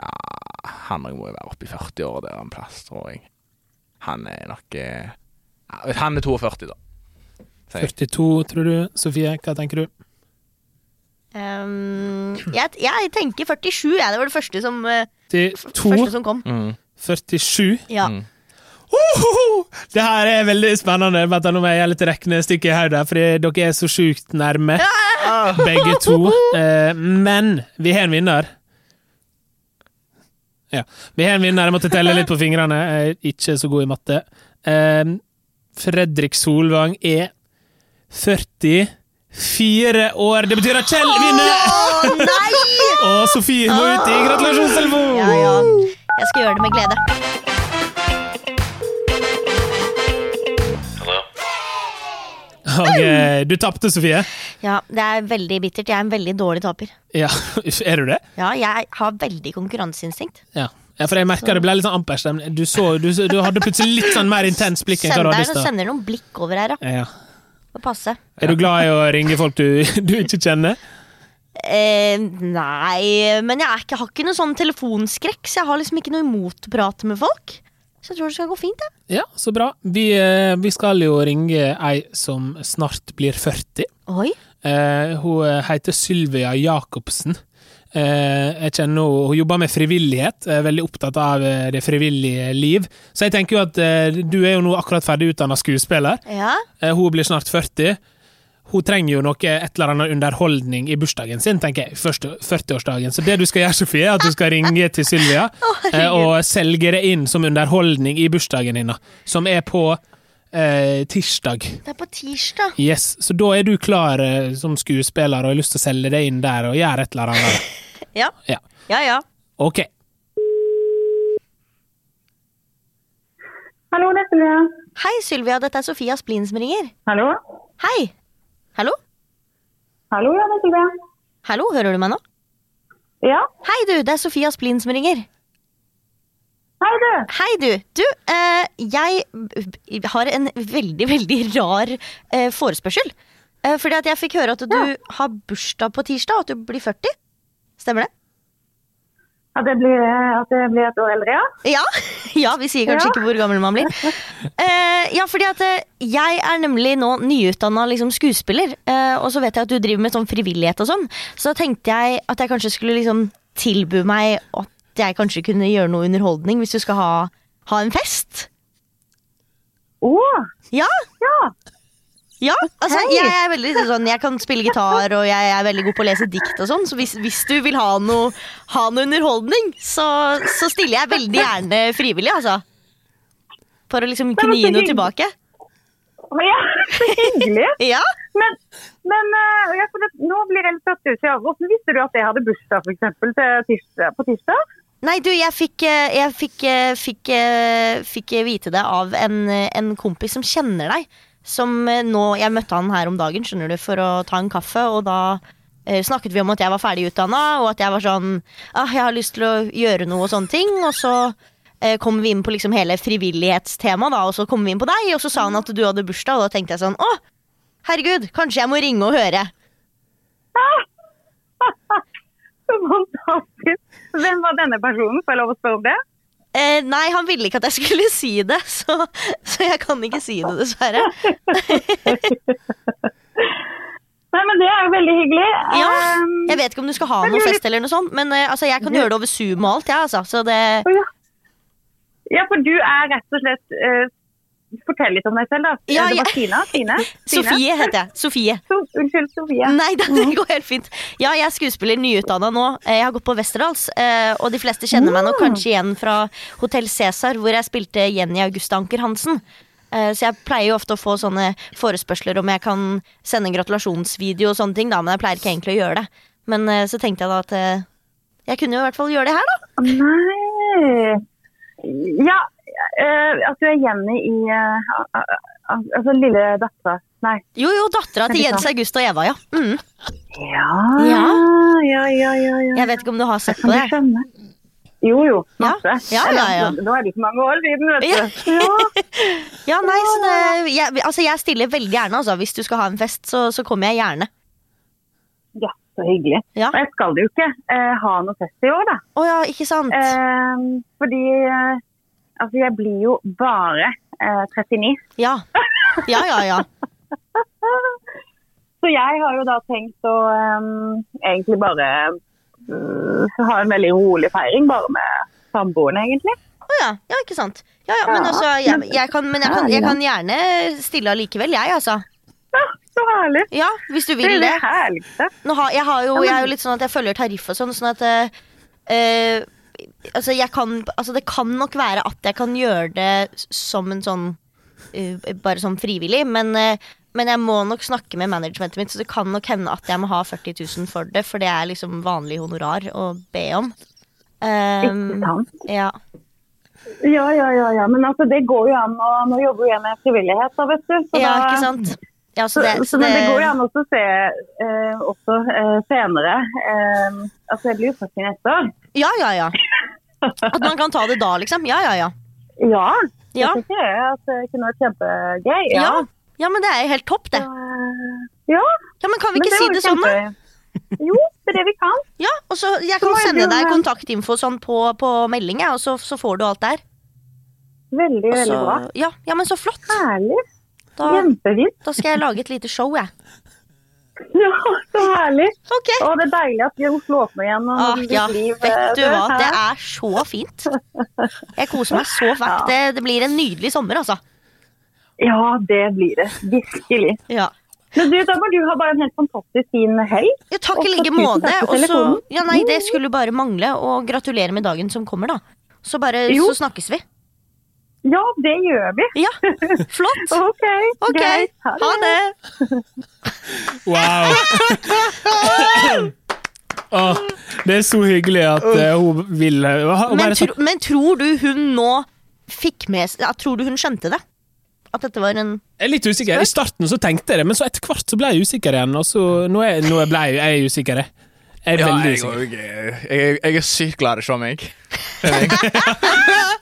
Speaker 3: Han må jo være oppe i 40-åra der en plass, tror jeg. Han er nok eh, Han er 42, da.
Speaker 1: 42, tror du. Sofie, hva tenker du?
Speaker 2: Um, jeg, jeg tenker 47, jeg. Det var det første som, eh, f-
Speaker 1: 42,
Speaker 2: første som kom.
Speaker 3: Mm.
Speaker 1: 47
Speaker 2: Ja.
Speaker 3: Mm.
Speaker 1: Ohoho! Det her er veldig spennende. Vent, da, nå må jeg gjøre litt regnestykke i hodet, fordi dere er så sjukt nærme,
Speaker 2: Ah.
Speaker 1: begge to. Eh, Men vi har en vinner. Ja. Vi har en vinner. Jeg måtte telle litt på fingrene. Jeg er ikke så god i matte. Eh, Fredrik Solvang er 44 år. Det betyr at Kjell vinner!
Speaker 2: Å nei!
Speaker 1: Og Sofie må ut i gratulasjonstelefon!
Speaker 2: Ja, ja. Jeg skal gjøre det med glede.
Speaker 1: Ok, du tapte, Sofie.
Speaker 2: Ja, Det er veldig bittert. Jeg er en veldig dårlig taper.
Speaker 1: Ja, <laughs> er du det?
Speaker 2: Ja, Jeg har veldig konkurranseinstinkt.
Speaker 1: Ja. ja, for jeg merka det ble litt sånn amperstemning. Du, så- du, så- du hadde plutselig litt sånn mer intens blikk enn hva du
Speaker 2: Sender,
Speaker 1: hadde i
Speaker 2: det
Speaker 1: stad.
Speaker 2: sender noen blikk over her, ja.
Speaker 1: Ja.
Speaker 2: Får passe.
Speaker 1: Er du glad i å ringe folk du, du ikke kjenner?
Speaker 2: Eh, nei, men jeg, er ikke, har ikke noe sånn telefonskrekk, så jeg har liksom ikke noe imot å prate med folk. Så jeg tror det skal gå fint, jeg.
Speaker 1: Ja, så bra. Vi, eh, vi skal jo ringe ei som snart blir 40.
Speaker 2: Oi.
Speaker 1: Eh, hun heter Sylvia Jacobsen. Eh, jeg kjenner hun, hun jobber med frivillighet, er veldig opptatt av eh, det frivillige liv. Så jeg tenker jo at eh, du er jo nå akkurat ferdig utdanna skuespiller.
Speaker 2: Ja.
Speaker 1: Eh, hun blir snart 40. Hun trenger jo noe, et eller annet underholdning i bursdagen sin, tenker jeg. Første 40-årsdagen. Så det du skal gjøre, Sofie, er at du skal ringe til Sylvia eh, og selge det inn som underholdning i bursdagen hennes, som er på eh, tirsdag.
Speaker 2: Det er på tirsdag.
Speaker 1: Yes, Så da er du klar eh, som skuespiller og har lyst til å selge det inn der og gjøre et eller annet.
Speaker 2: Ja.
Speaker 1: Ja.
Speaker 2: Ja, ja.
Speaker 1: Ok.
Speaker 6: Hallo, det er Sylvia.
Speaker 2: Hei, Sylvia. Dette er Sofia Splin som ringer.
Speaker 6: Hallo?
Speaker 2: Hei. Hallo?
Speaker 6: Hallo, ja, det er Sylvia.
Speaker 2: Hallo, hører du meg nå?
Speaker 6: Ja,
Speaker 2: Hei, du. Det er Sofia Splin som ringer.
Speaker 6: hei du.
Speaker 2: Hei, du. Du, eh, jeg b- b- har en veldig, veldig rar eh, forespørsel. Eh, fordi at jeg fikk høre at du har bursdag på tirsdag, og at du blir 40. Stemmer det?
Speaker 6: At jeg blir, at jeg blir et år eldre, ja.
Speaker 2: Ja, <laughs> ja vi sier kanskje
Speaker 6: Ja.
Speaker 2: ikke hvor gammel man blir. Eh, ja, fordi at eh, jeg er nemlig nå nyutdanna liksom, skuespiller, eh, og så vet jeg at du driver med sånn frivillighet og sånn. Så da tenkte jeg at jeg kanskje skulle liksom tilby meg at jeg kanskje kunne gjøre noe underholdning hvis du skal ha, ha en fest.
Speaker 6: Å,
Speaker 2: Ja,
Speaker 6: ja.
Speaker 2: Ja, altså
Speaker 6: Hei.
Speaker 2: jeg er veldig sånn Jeg kan spille gitar, og jeg er veldig god på å lese dikt og sånn, så hvis, hvis du vil ha noe, ha noe underholdning, så, så stiller jeg veldig gjerne frivillig, altså. For å liksom
Speaker 6: men
Speaker 2: kunne
Speaker 6: så
Speaker 2: gi noe
Speaker 6: hyggelig.
Speaker 2: tilbake.
Speaker 6: Å, ja. Så hyggelig.
Speaker 2: Ja,
Speaker 6: Men, men eh, ja, for det, nå blir jeg litt satt ut. Ja. Hvordan visste du at jeg hadde bursdag for eksempel, til tirsdag, på tirsdag?
Speaker 2: Nei, du, jeg fikk, eh, jeg fikk, eh, fikk, eh, fikk vite det av en, eh, en kompis som kjenner deg. Som eh, nå, Jeg møtte han her om dagen skjønner du, for å ta en kaffe, og da eh, snakket vi om at jeg var ferdig utdanna, og at jeg var sånn ah, Jeg har lyst til å gjøre noe og sånne ting. Og så eh, kom vi inn på liksom hele frivillighetstemaet, da, og så kom vi inn på deg, og så sa han at du hadde bursdag, og da tenkte jeg sånn Å, herregud, kanskje jeg må ringe og høre.
Speaker 6: <laughs> Så fantastisk. Hvem var denne personen? Får jeg lov å spørre om det?
Speaker 2: Eh, nei, han ville ikke at jeg skulle <laughs> si det, så, så jeg kan ikke si det, dessverre.
Speaker 6: Nei, men det er jo veldig hyggelig.
Speaker 2: Ja,
Speaker 6: Ehm,
Speaker 2: jeg vet ikke om du skal ha noe fest eller noe sånt, men eh, altså, jeg kan gjøre det over Zoom og alt, jeg, altså. Så det
Speaker 6: ja, for du er rett og slett... eh, Fortell litt om deg selv da.
Speaker 2: Ja,
Speaker 6: du
Speaker 2: ja.
Speaker 6: var Tina. Tine? Tine?
Speaker 2: <laughs> Sofie heter jeg. Sofie.
Speaker 6: So unnskyld, Sofie.
Speaker 2: Nei da, <laughs> det går helt fint. Ja, jeg er skuespiller, nyutdanna nå. Eh, Jeg har gått på Westerdals, eh, og de fleste kjenner meg nå kanskje igjen fra Hotell Cæsar, hvor jeg spilte Jenny Augusta Anker Hansen. Eh, Så jeg pleier jo ofte å få sånne forespørsler om jeg kan sende en gratulasjonsvideo og sånne ting, da, men jeg pleier ikke egentlig å gjøre det. Men eh, så tenkte jeg da at eh, jeg kunne jo i hvert fall gjøre det her, da.
Speaker 6: Nei Ja, eh, altså jeg er Jenny i eh, al- al- Altså lille dattera. Nei.
Speaker 2: Jo, jo, dattera til Jens August og Eva, ja. Mm.
Speaker 6: Ja,
Speaker 2: Ja.
Speaker 6: ja, ja, ja. ja,
Speaker 2: Jeg vet ikke om Mm. du har sett på
Speaker 6: Kan du
Speaker 2: det.
Speaker 6: skjønne? Jo, jo.
Speaker 2: Ja,
Speaker 6: Masse.
Speaker 2: ja, ja, ja.
Speaker 6: Eller, altså, Nå er det ikke mange år siden, vet
Speaker 2: Ja.
Speaker 6: du. Ja.
Speaker 2: Ja, nei, så det, jeg, altså jeg stiller veldig gjerne. Altså. Hvis du skal ha en fest, så, så kommer jeg gjerne.
Speaker 6: ja, så hyggelig.
Speaker 2: <laughs> Ja.
Speaker 6: Men Jeg skal jo ikke eh, ha noe fest i år, da.
Speaker 2: Å ja, ikke sant?
Speaker 6: Eh, fordi eh, Altså, jeg blir jo bare eh, 39.
Speaker 2: Ja. Ja, ja, <laughs> ja.
Speaker 6: Så jeg har jo da tenkt å ehm, egentlig bare mm, ha en veldig rolig feiring, bare med samboeren, egentlig.
Speaker 2: Å ja. ja, ikke sant. Ja, ja, men
Speaker 6: Ja,
Speaker 2: altså, jeg, jeg kan, men jeg kan, jeg kan gjerne stille allikevel, jeg, altså.
Speaker 6: Ja, så herlig.
Speaker 2: Ja, hvis du
Speaker 6: Det
Speaker 2: vil
Speaker 6: er
Speaker 2: det.
Speaker 6: det herligste.
Speaker 2: Nå har, jeg, har jo, jeg er jo litt sånn at jeg følger tariff og sånn, sånn at eh, eh, altså, jeg kan, altså det kan nok være at jeg kan gjøre det s- som en sånn eh, Bare sånn frivillig, men, eh, men jeg må nok snakke med managementet mitt, så det kan nok hende at jeg må ha 40 000 for det, for det er liksom vanlig honorar å be om.
Speaker 6: Ikke
Speaker 2: Um,
Speaker 6: sant?
Speaker 2: ja.
Speaker 6: Ja, ja, ja, ja. Men altså, det går jo an å Nå jobber jo jeg med frivillighet, da, vet du. Så
Speaker 2: ja,
Speaker 6: da-
Speaker 2: ikke sant? Ja, så
Speaker 6: Så,
Speaker 2: det,
Speaker 6: så,
Speaker 2: så
Speaker 6: men det går jo
Speaker 2: det,
Speaker 6: an også å se eh, også eh, senere. Eh, altså, jeg blir jo 40 neste år.
Speaker 2: ja, ja, ja. At man kan ta det da, liksom. Ja, ja, ja.
Speaker 6: Ja.
Speaker 2: Ja.
Speaker 6: Jeg tenker det, at det kunne vært kjempegøy.
Speaker 2: Ja, ja men det er jo helt topp, det.
Speaker 6: ja.
Speaker 2: Ja, men Kan vi
Speaker 6: Men
Speaker 2: ikke
Speaker 6: det
Speaker 2: si
Speaker 6: var
Speaker 2: det
Speaker 6: jo
Speaker 2: sånn, da?
Speaker 6: kjempegøy. Jo, det er det vi kan.
Speaker 2: Ja, og så Jeg kan
Speaker 6: Så er det
Speaker 2: sende
Speaker 6: jo
Speaker 2: deg
Speaker 6: det.
Speaker 2: kontaktinfo sånn på, på melding, jeg, og så, så får du alt der.
Speaker 6: Veldig,
Speaker 2: Og
Speaker 6: veldig
Speaker 2: så-
Speaker 6: bra.
Speaker 2: Ja, ja, men så flott.
Speaker 6: Herlig.
Speaker 2: Altså, Da,
Speaker 6: Kjempefint. <laughs>
Speaker 2: da skal jeg lage et lite show, jeg.
Speaker 6: Ja, så herlig.
Speaker 2: Ok.
Speaker 6: Og det er deilig at Oslo åpner igjen. Og
Speaker 2: Ah,
Speaker 6: ditt
Speaker 2: ja,
Speaker 6: liv,
Speaker 2: vet du
Speaker 6: eh,
Speaker 2: hva.
Speaker 6: her.
Speaker 2: Det er så fint. Jeg koser meg så fælt. Det, det blir en nydelig sommer, altså.
Speaker 6: Ja, det blir det. Virkelig.
Speaker 2: Ja.
Speaker 6: Men du, da må du ha bare en helt fantastisk fin helg.
Speaker 2: Ja, takk
Speaker 6: Og
Speaker 2: i
Speaker 6: så
Speaker 2: like
Speaker 6: tusen
Speaker 2: måte.
Speaker 6: takk
Speaker 2: Og
Speaker 6: for
Speaker 2: så
Speaker 6: telefonen.
Speaker 2: Ja, nei, det skulle bare mangle. Og gratulerer med dagen som kommer, da. Så bare
Speaker 6: Jo.
Speaker 2: Så snakkes vi.
Speaker 6: Ja, det gjør vi.
Speaker 2: Ja.
Speaker 6: <laughs>
Speaker 2: Flott.
Speaker 6: OK.
Speaker 2: Ok.
Speaker 6: Greit. Ha det.
Speaker 2: Ha det.
Speaker 1: Wow. Åh, det er så hyggelig at eh, hun vil eh, hun
Speaker 2: Men,
Speaker 1: bare sa-
Speaker 2: tro, men tror du hun nå fikk med seg ja, Tror du hun skjønte det? At dette var en
Speaker 1: Jeg er litt usikker. I starten så tenkte jeg det, men så etter hvert så ble jeg usikker igjen. Og så, nå er, nå er ble jeg, jeg er usikker, jeg. Jeg er
Speaker 3: Ja,
Speaker 1: veldig
Speaker 3: jeg,
Speaker 1: usikker.
Speaker 3: òg er- jeg, jeg er sykt glad det ikke var meg. <laughs>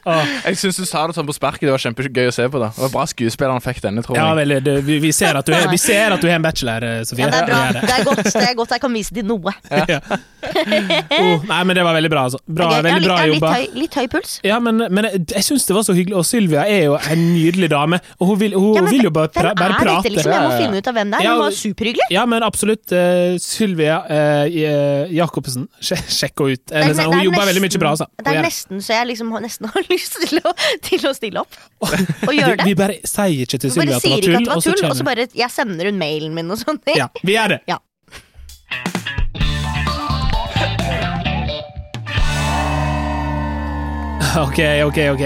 Speaker 1: Ah.
Speaker 3: Jeg syns du sa det sånn på sparket. Det var kjempegøy å se på. da Det var Bra skuespiller han fikk denne, tror
Speaker 1: Ja,
Speaker 3: jeg.
Speaker 1: veldig, det, vi, vi, ser at du er, vi ser at du er en bachelor, eh, Sofie.
Speaker 2: Ja, det er bra.
Speaker 1: Vi
Speaker 2: Det er godt, det er godt jeg kan vise til noe.
Speaker 1: Ja. <laughs> Oh, nei, men det var veldig bra, altså. Bra,
Speaker 2: Ok, jeg har
Speaker 1: veldig
Speaker 2: litt,
Speaker 1: bra
Speaker 2: jeg har
Speaker 1: jobba.
Speaker 2: Litt, høy, litt høy puls.
Speaker 1: Ja, men, men jeg, jeg syns det var så hyggelig, og Sylvia er jo en nydelig dame, og hun vil, hun,
Speaker 2: Ja, men
Speaker 1: vil jo bare, pra,
Speaker 2: hvem
Speaker 1: bare
Speaker 2: er
Speaker 1: prate.
Speaker 2: Dette, liksom? Jeg
Speaker 3: Ja,
Speaker 2: må
Speaker 3: ja, ja.
Speaker 2: finne ut av hvem det er.
Speaker 1: Ja,
Speaker 2: Hun var
Speaker 1: og-
Speaker 2: superhyggelig.
Speaker 1: Ja, men absolutt. eh, Sylvia eh, eh, Jacobsen, sje- sjekk henne ut. Eh,
Speaker 2: Det er-
Speaker 1: liksom,
Speaker 2: det
Speaker 1: hun
Speaker 2: er
Speaker 1: jobber veldig
Speaker 2: nesten-
Speaker 1: mye bra, altså.
Speaker 2: Det
Speaker 1: Hun
Speaker 2: er
Speaker 1: gjør
Speaker 2: nesten så jeg liksom har- nesten <laughs> har lyst til å, til å stille opp og
Speaker 1: Vi,
Speaker 2: gjøre det.
Speaker 1: vi bare sier ikke til
Speaker 2: Vi
Speaker 1: Sylvia
Speaker 2: bare
Speaker 1: at det
Speaker 2: sier
Speaker 1: var
Speaker 2: ikke at
Speaker 1: tull,
Speaker 2: det var tull, og så
Speaker 1: kjenner
Speaker 2: bare Jeg sender hun mailen min og sånn.
Speaker 1: vi. Ja, vi gjør det.
Speaker 2: Ja.
Speaker 1: <laughs> Ok, ok, ok.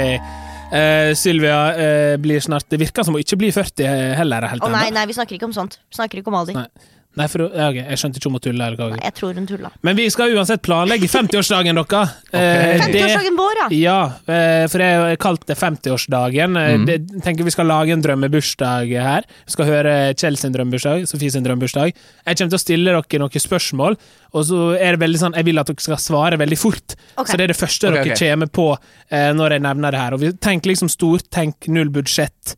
Speaker 1: Eh, Sylvia eh, blir snart Det virker som hun ikke blir 40 heller. Helt
Speaker 2: Å nei,
Speaker 1: ennå.
Speaker 2: nei, vi snakker ikke om sånt. Vi snakker ikke om alder.
Speaker 1: Nei. Nei, for hun- ja, ok, Jeg skjønte ikke om hun tulla. eller hva hun gjorde.
Speaker 2: Nei, Jeg tror hun tulla.
Speaker 1: Men vi skal uansett planlegge 50-årsdagen dere. Eh, det-
Speaker 2: 50-årsdagen vår, ja!
Speaker 1: Ja, eh, for jeg har kalt det 50-årsdagen. Eh,
Speaker 3: Mm.
Speaker 1: det- tenker Vi skal lage en drømmebursdag her. Vi skal høre Kjell sin drømmebursdag, Sofie sin drømmebursdag. Jeg kommer til å stille dere noen spørsmål, og så er det veldig sånn jeg vil at dere skal svare veldig fort.
Speaker 2: Ok.
Speaker 1: Så det er det første
Speaker 3: Ok,
Speaker 1: dere
Speaker 3: ok.
Speaker 1: kommer på eh, når jeg nevner det her. Og vi Tenk liksom stort, tenk null budsjett.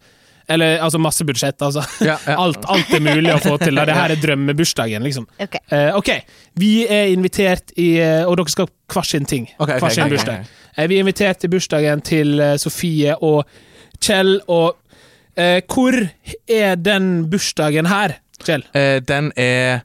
Speaker 1: Eller altså masse budsjett, altså.
Speaker 3: Ja, ja.
Speaker 1: <laughs> Alt, alt er mulig å få til. da. Det her
Speaker 3: <laughs>
Speaker 1: er drømmebursdagen, liksom.
Speaker 2: Ok.
Speaker 1: Eh, ok, vi er invitert i eh, Og dere skal hver sin ting.
Speaker 3: Ok, ok,
Speaker 1: hver sin
Speaker 3: ok, ok.
Speaker 1: bursdag. Eh, vi er invitert til bursdagen til eh, Sofie og Kjell, og eh, hvor er den bursdagen her, Kjell? <laughs>
Speaker 3: Eh, Den er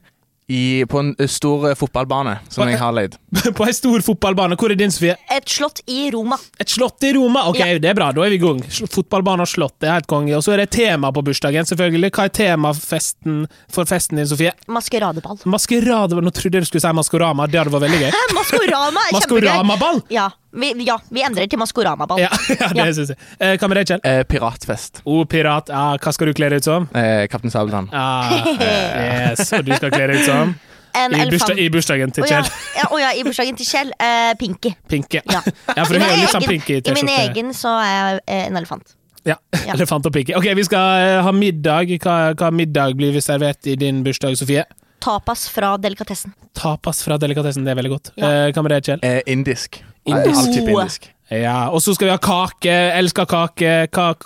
Speaker 3: i, på en eh, stor eh, fotballbane som jeg har leid.
Speaker 1: På ei stor fotballbane. Hvor er din, Sofie?
Speaker 2: Et slott i Roma.
Speaker 1: Et slott i Roma. Ok, det er bra, da er vi i gang. Sl- Fotballbane og slott, det er helt konge. Og så er det tema på bursdagen, selvfølgelig. Hva er temafesten for festen din, Sofie?
Speaker 2: Maskeradeball.
Speaker 1: Maskerade Nå trodde jeg du skulle si Maskorama, det hadde vært veldig gøy.
Speaker 2: Maskorama er kjempegøy.
Speaker 1: Maskoramaball!
Speaker 2: Ja vi, ja, vi endrer til maskoramaball.
Speaker 1: Ja, <laughs> ja, det
Speaker 2: Ja.
Speaker 1: syns jeg. Eh, Hva med deg, Kjell?
Speaker 3: Eh, Piratfest.
Speaker 1: Oh, pirat. Ah, hva skal du kle deg ut som?
Speaker 3: Eh, Kaptein Sabeltann.
Speaker 1: Ah,
Speaker 2: <laughs>
Speaker 1: yes, og du skal kle deg ut som?
Speaker 2: En
Speaker 1: I, bursdag,
Speaker 2: elefant.
Speaker 1: I bursdagen til
Speaker 2: Å ja,
Speaker 1: Kjell.
Speaker 2: ja, å ja, i bursdagen til Kjell. Eh, Pinky.
Speaker 1: Pinke.
Speaker 2: Ja.
Speaker 1: <laughs> Ja, for hun
Speaker 2: I
Speaker 1: er jo
Speaker 2: min
Speaker 1: litt sånn
Speaker 2: egen-
Speaker 1: pinky
Speaker 2: I min
Speaker 1: T-skjorte.
Speaker 2: egen så er jeg eh, en elefant.
Speaker 1: Ja,
Speaker 2: Ja.
Speaker 1: elefant og pinky. Ok, vi skal eh, ha middag. Hva, hva middag blir vi servert i din bursdag, Sofie?
Speaker 2: Tapas fra delikatessen.
Speaker 1: Tapas fra delikatessen, det er veldig godt.
Speaker 2: Ja.
Speaker 1: Eh, Hva med det, Kjell?
Speaker 3: Eh, indisk.
Speaker 1: Indisk.
Speaker 3: All type indisk.
Speaker 1: Ja, Og så skal vi ha kake. Elsker kake.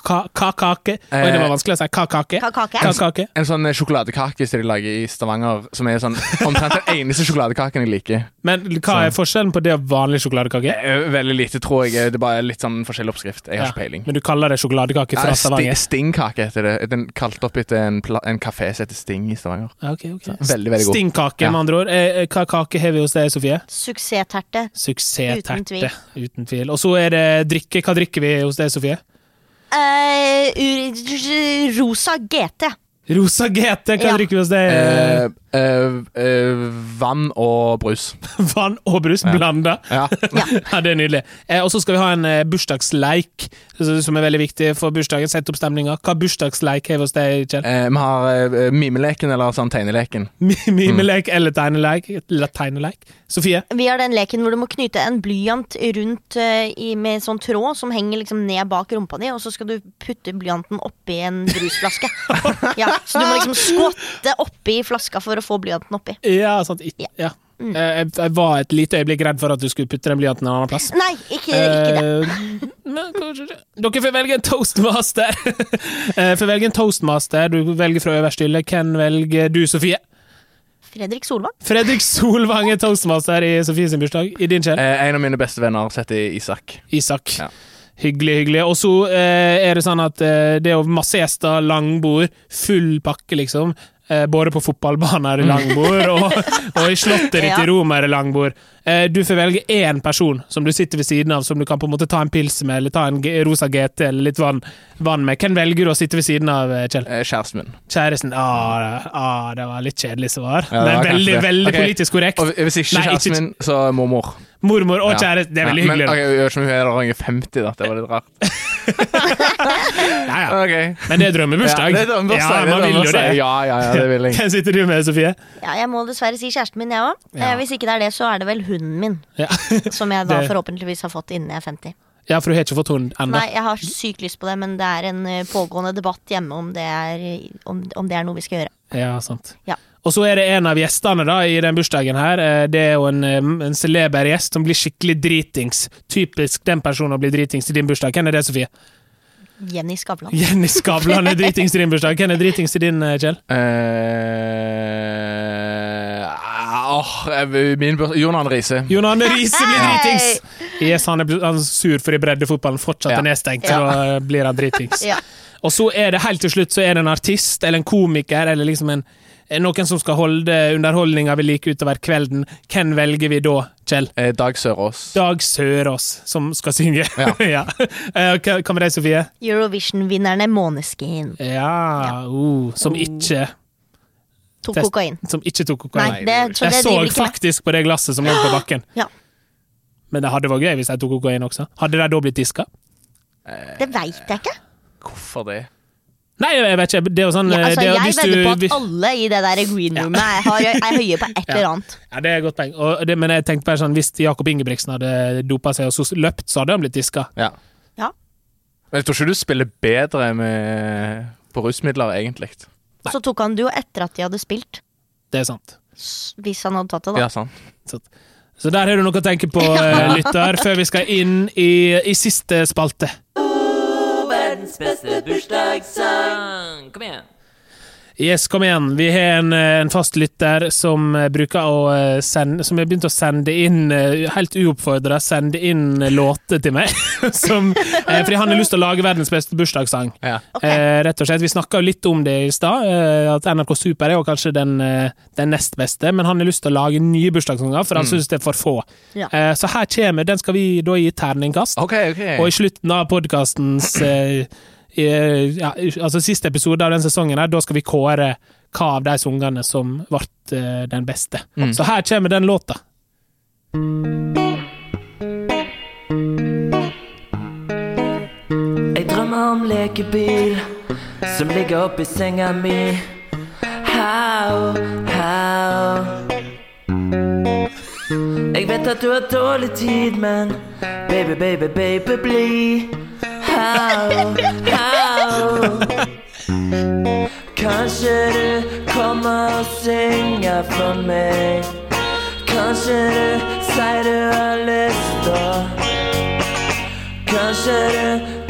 Speaker 1: Ka-kake. Oi,
Speaker 3: Eh,
Speaker 1: det var vanskelig å si. Ka-kake.
Speaker 2: Kakake.
Speaker 1: Ka-kake.
Speaker 3: En sånn eh, sjokoladekake som de lager i Stavanger, som er sånn omtrent den <laughs> eneste sjokoladekaken jeg liker.
Speaker 1: Men hva
Speaker 3: Sånn.
Speaker 1: er forskjellen på det og vanlig sjokoladekake?
Speaker 3: Eh, Veldig lite, tror jeg. Det er bare litt sånn forskjellig oppskrift. Jeg har ikke
Speaker 1: Ja,
Speaker 3: peiling.
Speaker 1: Men du kaller det sjokoladekake
Speaker 3: Ja,
Speaker 1: fra
Speaker 3: sti,
Speaker 1: Stavanger?
Speaker 3: stingkake heter det. Den kalt opp etter en, pla- en kafé som heter Sting i Stavanger.
Speaker 1: Ja, ok, ok.
Speaker 3: Veldig, veldig god.
Speaker 1: Stingkake,
Speaker 3: Ja.
Speaker 1: med andre ord. Eh, eh, Hva kake har vi hos deg, Sofie?
Speaker 2: Suksessterte.
Speaker 1: Suksessterte.
Speaker 2: Uten tvil.
Speaker 1: Uten tvil. Og så er det drikke. Hva drikker vi hos deg, Sofie?
Speaker 2: Eh, ur- rosa GT.
Speaker 1: Rosa GT. Hva
Speaker 2: Ja.
Speaker 1: drikker vi hos deg?
Speaker 3: Eh, eh, eh, vann og brus.
Speaker 1: <laughs> Vann og brus blanda. <laughs>
Speaker 3: Ja.
Speaker 1: Ja. det er nydelig. Eh, og så skal vi ha en eh, bursdagsleik, s- som er veldig viktig for bursdagen. Sett opp stemninga. Hva bursdagsleik har vi hos deg, Kjell?
Speaker 3: Eh, vi har eh, mimeleken, eller sånn tegneleken.
Speaker 1: Mi-
Speaker 3: Mm.
Speaker 1: Mimeleik eller tegneleik? Eller tegneleik? Sofie?
Speaker 2: Vi har den leken hvor du må knyte en blyant rundt eh, i, med sånn tråd som henger liksom ned bak rumpa di, og så skal du putte blyanten oppi en
Speaker 1: <laughs>
Speaker 2: brusflaske. ja, så du må liksom skvatte oppi flaska for å få blyanten oppi.
Speaker 1: Ja, sant. I-
Speaker 2: Ja. Mm.
Speaker 1: Ja. Eh, jeg, jeg var et lite øyeblikk redd for at du skulle putte den blyanten en annen plass.
Speaker 2: Nei, ikke, ikke det.
Speaker 1: Eh, men kanskje ikke. Dere får velge en toastmaster. <laughs> Eh, får velge en toastmaster. Du velger fra øverste hylle. Hvem velger du, Sofie?
Speaker 2: Fredrik Solvang.
Speaker 1: Fredrik Solvang er toastmaster i Sofies bursdag. I din kjell.
Speaker 3: Eh, en av mine beste venner heter Isak.
Speaker 1: Isak.
Speaker 3: Ja.
Speaker 1: Hyggelig, hyggelig. Og så eh, er det sånn at eh, det er jo masse gjester, langbord, full pakke, liksom. eh, både på fotballbaner
Speaker 3: Mm.
Speaker 1: i langbord og, og i slottet ditt i
Speaker 2: Ja.
Speaker 1: Roma er det langbord. Eh, Du får velge én person som du sitter ved siden av, som du kan på en måte ta en pils med, eller ta en G- rosa GT eller litt vann, vann med. Hvem velger du å sitte ved siden av, eh, Kjell?
Speaker 3: Eh, Kjæresten min.
Speaker 1: Kjæresten? Ah, ah, det var litt kjedelig svar.
Speaker 3: Ja, det
Speaker 1: det
Speaker 3: var
Speaker 1: er veldig,
Speaker 3: kanskje det.
Speaker 1: veldig
Speaker 3: Ok,
Speaker 1: politisk korrekt.
Speaker 3: Og hvis ikke
Speaker 1: Nei,
Speaker 3: kjæresten min, så mormor.
Speaker 1: Mormor og
Speaker 3: Ja.
Speaker 1: kjæreste, det er veldig
Speaker 3: Ja,
Speaker 1: hyggelig.
Speaker 3: Men,
Speaker 1: da.
Speaker 3: ok, jeg gjør ikke så mye, da. Jeg er 50, da. Det var litt rart.
Speaker 1: Ja, ja.
Speaker 3: Ok.
Speaker 1: Men det er
Speaker 3: Ja,
Speaker 1: drømmebursdag.
Speaker 3: det er drømmebursdag.
Speaker 1: Ja, man
Speaker 3: det er
Speaker 1: vil jo det.
Speaker 3: drømmebursdag. Ja, ja, ja, det vil jeg.
Speaker 1: <laughs> Hvem sitter du med, Sofie?
Speaker 2: Ja, jeg må dessverre si kjæresten min, jeg òg.
Speaker 1: Ja.
Speaker 2: Eh, hvis ikke det er det, så er det vel hunden min.
Speaker 1: Ja. <laughs>
Speaker 2: Som jeg da
Speaker 1: Det-
Speaker 2: forhåpentligvis har fått innen jeg er 50.
Speaker 1: ja, for du har ikke fått hund ennå.
Speaker 2: Nei, jeg har sykt lyst på det, men det er en eh, pågående debatt hjemme om det er, om, om det er noe vi skal gjøre.
Speaker 1: Ja, sant.
Speaker 2: Ja.
Speaker 1: Og så er det en av gjestene da i den bursdagen her. eh, Det er jo en, eh, en celeber gjest som blir skikkelig dritings. Typisk den personen å bli dritings til din bursdag. Hvem er det, Sofie?
Speaker 2: Jenny Skavlan.
Speaker 1: Jenny Skavlan <laughs> er dritings til din bursdag. Hvem er dritings til din, eh, Kjell?
Speaker 3: Eh, åh, jeg- min bursdag Jon Arne Riise.
Speaker 1: Jon Arne Riise blir
Speaker 2: Hei!
Speaker 1: dritings! Yes, han er, bl- han er sur fordi breddefotballen fortsatt
Speaker 3: Ja.
Speaker 1: er nedstengt, så eh, blir han dritings.
Speaker 2: <laughs> Ja.
Speaker 1: Og så er det helt til slutt så er det en artist eller en komiker eller liksom en noen som skal holde underholdninga ved like utover kvelden. Hvem velger vi da, Kjell?
Speaker 3: Eh, Dag Sørås.
Speaker 1: Dag Sørås, som skal synge.
Speaker 3: Ja.
Speaker 1: <laughs> ja. Eh, Hva hva med deg, Sofie?
Speaker 2: Eurovision-vinnerne Måneskin
Speaker 1: Ja, oh, som ikke
Speaker 2: tok
Speaker 1: Test-
Speaker 2: kokain.
Speaker 1: Som ikke tok
Speaker 2: Nei,
Speaker 1: kokain.
Speaker 2: det, så det
Speaker 1: Jeg så
Speaker 2: driver ikke med.
Speaker 1: faktisk på det glasset som lå på bakken.
Speaker 2: Ja,
Speaker 1: Men det hadde vært gøy hvis jeg tok kokain også. Hadde de da blitt diska?
Speaker 2: det veit jeg ikke.
Speaker 3: Hvorfor det?
Speaker 1: Nei, jeg vet ikke. Det er jo sånn
Speaker 2: Ja,
Speaker 1: eh,
Speaker 2: altså,
Speaker 1: det, er jo
Speaker 2: jeg
Speaker 1: hvis
Speaker 2: vedder på
Speaker 1: du-
Speaker 2: at alle i det der green roomet er, har- er høye på et eller annet.
Speaker 1: <laughs> Ja, det er et godt poeng. Og det, men jeg tenkte bare sånn, hvis Jakob Ingebrigtsen hadde dopa seg og så løpt, så hadde han blitt diska.
Speaker 3: Ja.
Speaker 2: Ja.
Speaker 3: Men jeg tror ikke du spiller bedre med, på rusmidler, egentlig.
Speaker 2: Så tok han det jo etter at de hadde spilt.
Speaker 1: Det er sant.
Speaker 2: s- Hvis han hadde tatt det, da.
Speaker 3: Ja, sant.
Speaker 1: Så, så der har du noe å tenke
Speaker 2: <laughs>
Speaker 1: på, eh, lytter, før vi skal inn i, i siste spalte.
Speaker 7: Verdens beste bursdagssang. Kom igjen.
Speaker 1: Yes, kom igjen. Vi har en, eh, en fast lytter som eh, bruker å eh, sende Som har begynt å sende inn, eh, helt uoppfordra, sende inn eh, låter til meg. <laughs> som, eh, fordi han har lyst til å lage verdens beste bursdagssang.
Speaker 3: Ja.
Speaker 2: Ok.
Speaker 1: Eh, rett og slett. Vi snakka jo litt om det i stad, eh, at NRK Super er jo kanskje den, eh, den nest beste, men han har lyst til å lage nye bursdagssanger, for han synes syns det er for få.
Speaker 2: Ja.
Speaker 1: Eh, så her kommer Den skal vi da gi terningkast.
Speaker 3: OK, OK.
Speaker 1: Og i slutten av podkastens eh, eh, ja, altså siste episode av den sesongen, her, da skal vi kåre hva av de sangene som ble eh, den beste. Så her kommer den låta.
Speaker 7: Jeg drømmer om lekebil som ligger oppi senga mi. How, how. Jeg vet at du har dårlig tid, men baby, baby, baby, bli. How, how. Kanskje du kommer og synger for meg. Kanskje du sier du har lyst til Kanskje du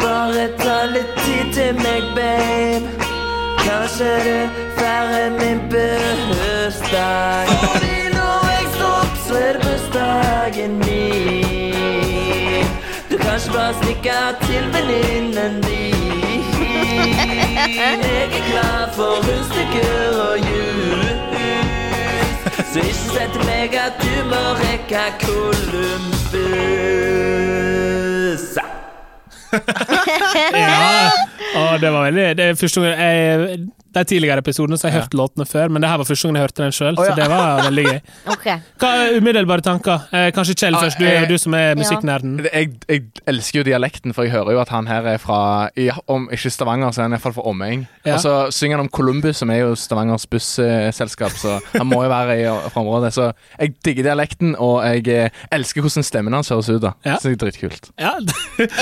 Speaker 7: bare tar litt tid til meg, babe. Kanskje du feirer min bursdag. Fordi når jeg står opp, så er det bursdagen min. Du kan ikke bare stikke av til venninnen din. Jeg er klar for rundstykker og jus. Så ikke si til meg at du må rekke Columbus.
Speaker 1: Ja. Og det var veldig det er første gang jeg, De tidligere episodene så har jeg hørt låtene før, men det her var første gang jeg hørte den sjøl, så det var veldig
Speaker 2: <laughs>
Speaker 1: gøy.
Speaker 2: Ok.
Speaker 1: Hva er umiddelbare tanker? Eh, kanskje Kjell
Speaker 3: Ah,
Speaker 1: først, du er
Speaker 3: eh,
Speaker 1: jo du som er musikknerden.
Speaker 3: Det- Jeg, jeg elsker jo dialekten, for jeg hører jo at han her er fra i- Om ikke Stavanger, så er han iallfall fra Omøying.
Speaker 1: Ja.
Speaker 3: Og så synger han om Columbus, som er jo Stavangers busselskap, så han må jo være i, fra området. Så jeg digger dialekten, og jeg eh, elsker hvordan stemmen hans høres ut. da
Speaker 1: Ja.
Speaker 3: Så det er dritkult.
Speaker 1: Ja.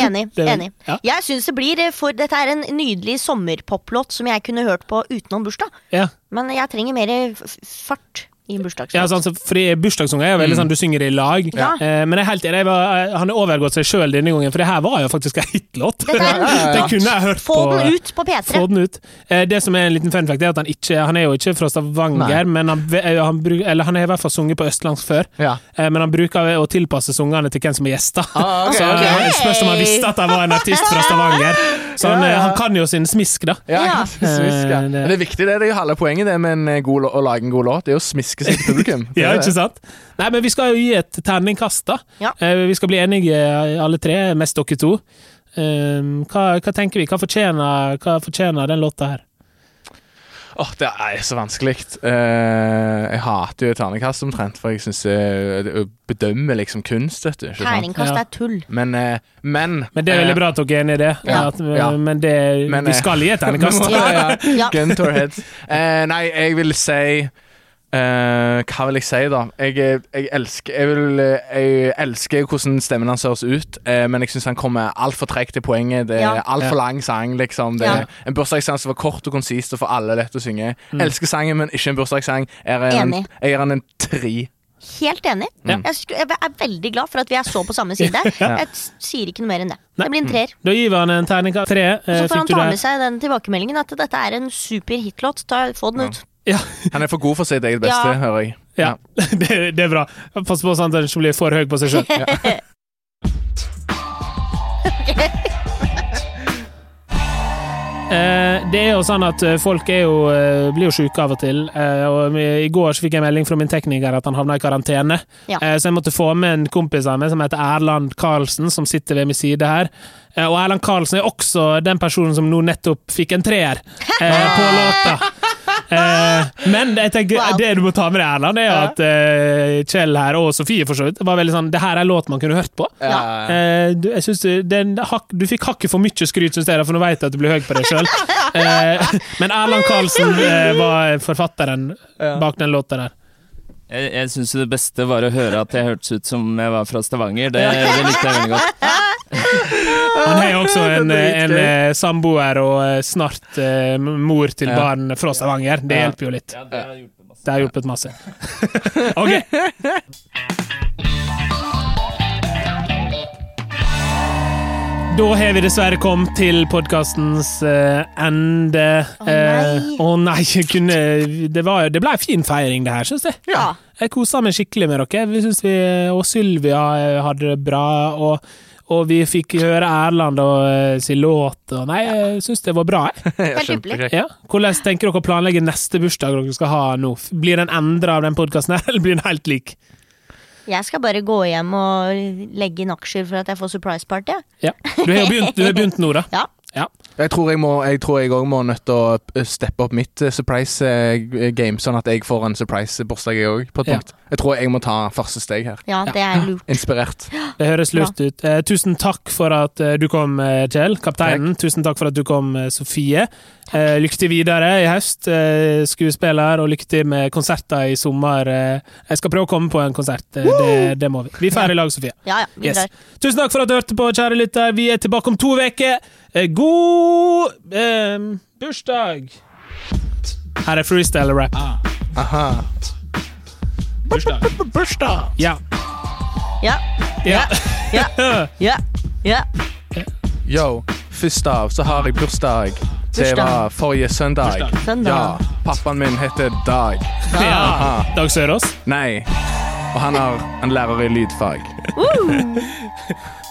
Speaker 2: Enig.
Speaker 1: <laughs> Det er vel-
Speaker 2: enig.
Speaker 1: ja.
Speaker 2: Jeg syns det blir eh, for Dette er en nydelig sommerpoplåt som jeg kunne hørt på utenom bursdag.
Speaker 1: <laughs> ja.
Speaker 2: Men jeg trenger mer eh, f- fart i en bursdagslåt.
Speaker 1: Ja, sånn, så fordi Bursdagssanger er jo
Speaker 3: Mm.
Speaker 1: veldig sånn du synger i lag,
Speaker 2: Ja.
Speaker 1: eh, men jeg er helt enig. Jeg var, eh, han har overgått seg sjøl denne gangen, for det her var jo faktisk en hitlåt. <laughs>
Speaker 2: Dette er en hitlåt.
Speaker 1: Den kunne jeg hørt
Speaker 2: Få
Speaker 1: på.
Speaker 2: den ut på P3.
Speaker 1: Få den ut. Eh, Det som er en liten fun fact, er at han ikke Han er jo ikke fra Stavanger, men han, ve- eh, han, bru- eller han har i hvert fall sunget på østlandsk før.
Speaker 3: Ja.
Speaker 1: Eh, Men han bruker å tilpasse sungene til hvem som er gjester.
Speaker 3: Ah, ok,
Speaker 1: Så
Speaker 3: ok.
Speaker 1: eh, spørs om han visste at han var en artist fra Stavanger. Så han,
Speaker 3: Ja, ja.
Speaker 1: eh, han kan jo sin smisk, da.
Speaker 3: Ja, <laughs>
Speaker 2: Ja.
Speaker 3: smisk, ja.
Speaker 1: Eh, det-
Speaker 3: Men det er viktig, det. det er jo Halve poenget det med en eh, god, lå- å lage en god låt Det er jo å smiske sitt publikum.
Speaker 1: <laughs>
Speaker 3: Det
Speaker 1: Ja,
Speaker 3: er
Speaker 1: ikke
Speaker 3: det.
Speaker 1: sant? Nei, men vi skal jo gi et terningkast, da.
Speaker 2: Ja.
Speaker 1: Eh, Vi skal bli enige eh, alle tre, mest dere to. Eh, hva, hva tenker vi? Hva fortjener, hva fortjener den låta her?
Speaker 3: Åh, det er så vanskelig. Eh, jeg hater jo ternekast omtrent, for jeg syns å bedømme liksom kunst, vet du. Ikke sant?
Speaker 2: Terningkast
Speaker 1: Ja.
Speaker 2: er tull.
Speaker 3: Men, eh, men
Speaker 1: Men det er veldig
Speaker 3: eh,
Speaker 1: bra at dere er enige i det.
Speaker 2: Ja.
Speaker 1: At, eh,
Speaker 3: Ja.
Speaker 1: Men det,
Speaker 3: Men,
Speaker 1: vi
Speaker 3: eh,
Speaker 1: skal gi et
Speaker 2: <laughs>
Speaker 1: terningkast.
Speaker 3: Ja, ja.
Speaker 2: Ja.
Speaker 3: uh, Gun to our heads. Eh, nei, jeg vil si eh, hva vil jeg si, da? Jeg, eh, jeg, elsker, jeg, vil, eh, jeg elsker hvordan stemmen hans høres ut, eh, men jeg syns han kommer altfor tregt til poenget. Det
Speaker 2: Ja.
Speaker 3: er altfor lang sang. liksom det,
Speaker 2: Ja.
Speaker 3: er En bursdagssang som var kort og konsist og for alle lett å synge. Elsker sangen, men ikke en bursdagssang. Jeg gir han en-
Speaker 2: Enig.
Speaker 3: jeg gir han en tre.
Speaker 2: Helt enig. Jeg, sku- jeg er veldig glad for at vi er så
Speaker 1: <laughs>
Speaker 2: på samme side. Jeg s- sier ikke noe mer enn det. Det blir en treer.
Speaker 1: Da gir vi han en terningkast tre. eh,
Speaker 2: Så får
Speaker 1: fikk
Speaker 2: han
Speaker 1: du
Speaker 2: ta
Speaker 1: det?
Speaker 2: med seg den tilbakemeldingen at dette er en super hitlåt. Ta- Få den ut.
Speaker 1: Ja,
Speaker 3: Han er for god for sitt eget beste,
Speaker 2: Ja.
Speaker 3: hører jeg. <laughs>
Speaker 1: ja. <laughs> Det, det er bra. Pass på sånn at den ikke blir for høy på seg sjøl. Eh, det er jo sånn at eh, folk er jo, eh, blir jo syke av og til. Eh, og vi- I går så fikk jeg melding fra min tekniker at han havna i karantene.
Speaker 2: Ja.
Speaker 1: Eh, så jeg måtte få med en kompis av meg som heter Erland Karlsen, som sitter ved min side her. Eh, og Erland Karlsen er også den personen som nå nettopp fikk en treer eh, på låta. Eh, men jeg tenker,
Speaker 2: Ah! Wow.
Speaker 1: det du må ta med deg, Erland, er jo at eh, Kjell her, og Sofie for så vidt, var veldig sånn Det her er låt man kunne hørt på.
Speaker 2: Ja.
Speaker 1: Eh, du, jeg synes du, den, hakk- du fikk hakket for mye skryt, synes jeg, for nå vet jeg at du blir høy på deg
Speaker 2: <laughs>
Speaker 1: sjøl. Eh, men Erland Karlsen eh, var forfatteren bak den låta der.
Speaker 8: Jeg, jeg syns det beste var å høre at jeg hørtes ut som jeg var fra Stavanger. Det, det likte jeg veldig godt.
Speaker 1: Han har jo også en,
Speaker 3: <laughs> Det er dritgøy.
Speaker 1: en eh, samboer og eh, snart eh, mor til
Speaker 3: Ja.
Speaker 1: barn fra Stavanger. Det
Speaker 3: Ja.
Speaker 1: hjelper jo litt. Det har hjulpet masse. <laughs> ok. Da har vi dessverre kommet til podkastens ende.
Speaker 2: Å, nei.
Speaker 1: Eh, Å nei, jeg kunne, det, var, det ble en fin feiring, det her, syns jeg.
Speaker 2: Ja.
Speaker 1: Jeg kosa meg skikkelig med dere. Vi synes vi, og Sylvia eh, hadde det bra. Og, og vi fikk høre Erland og eh, sin låt. Og nei, jeg syns det var bra. Jeg.
Speaker 2: Helt ypperlig.
Speaker 1: Ja. Hvordan tenker dere å planlegge neste bursdag dere skal ha nå? Blir den endra av den podkasten, <laughs> eller blir den helt lik?
Speaker 2: Jeg skal bare gå hjem og legge inn aksjer for at jeg får surprise party.
Speaker 1: Ja. Du har jo begynt, du har begynt nå, da.
Speaker 2: Ja.
Speaker 1: Ja.
Speaker 3: Jeg tror jeg må- jeg tror jeg òg må nødt til å eh, steppe opp mitt eh, surprise eh, game, sånn at jeg får en surprise-bursdag, jeg òg, på et
Speaker 1: Ja.
Speaker 3: punkt. Jeg tror jeg må ta første steg her.
Speaker 2: Ja, det er lurt.
Speaker 3: Inspirert.
Speaker 1: Det høres lurt ut. Eh, tusen takk for at eh, du kom, eh, Kjell, kapteinen. Tusen takk for at du kom, eh, Sofie. Eh, lykke til videre i høst, eh, skuespiller, og lykke til med konserter i sommer. Eh, jeg skal prøve å komme på en konsert, eh, det, det må vi. Vi feirer i lag, Sofie.
Speaker 2: Ja, ja, vi
Speaker 1: Yes.
Speaker 2: drar.
Speaker 1: Tusen takk for at du hørte på, kjære lytter. Vi er tilbake om to uker. Eh, God eh, bursdag! Her er freestyle-rap.
Speaker 3: Aha.
Speaker 1: Bursdag. Ja.
Speaker 2: Ja,
Speaker 1: ja. <laughs>
Speaker 2: ja, ja.
Speaker 3: Yo, først av så har jeg bursdag. Det
Speaker 2: Bursdag.
Speaker 3: var forrige søndag.
Speaker 2: Søndag.
Speaker 3: Ja. Pappaen min heter Dag.
Speaker 1: ja. Dag Sørås.
Speaker 3: Nei. Og han, har, han lærer i lydfag.
Speaker 2: Uh.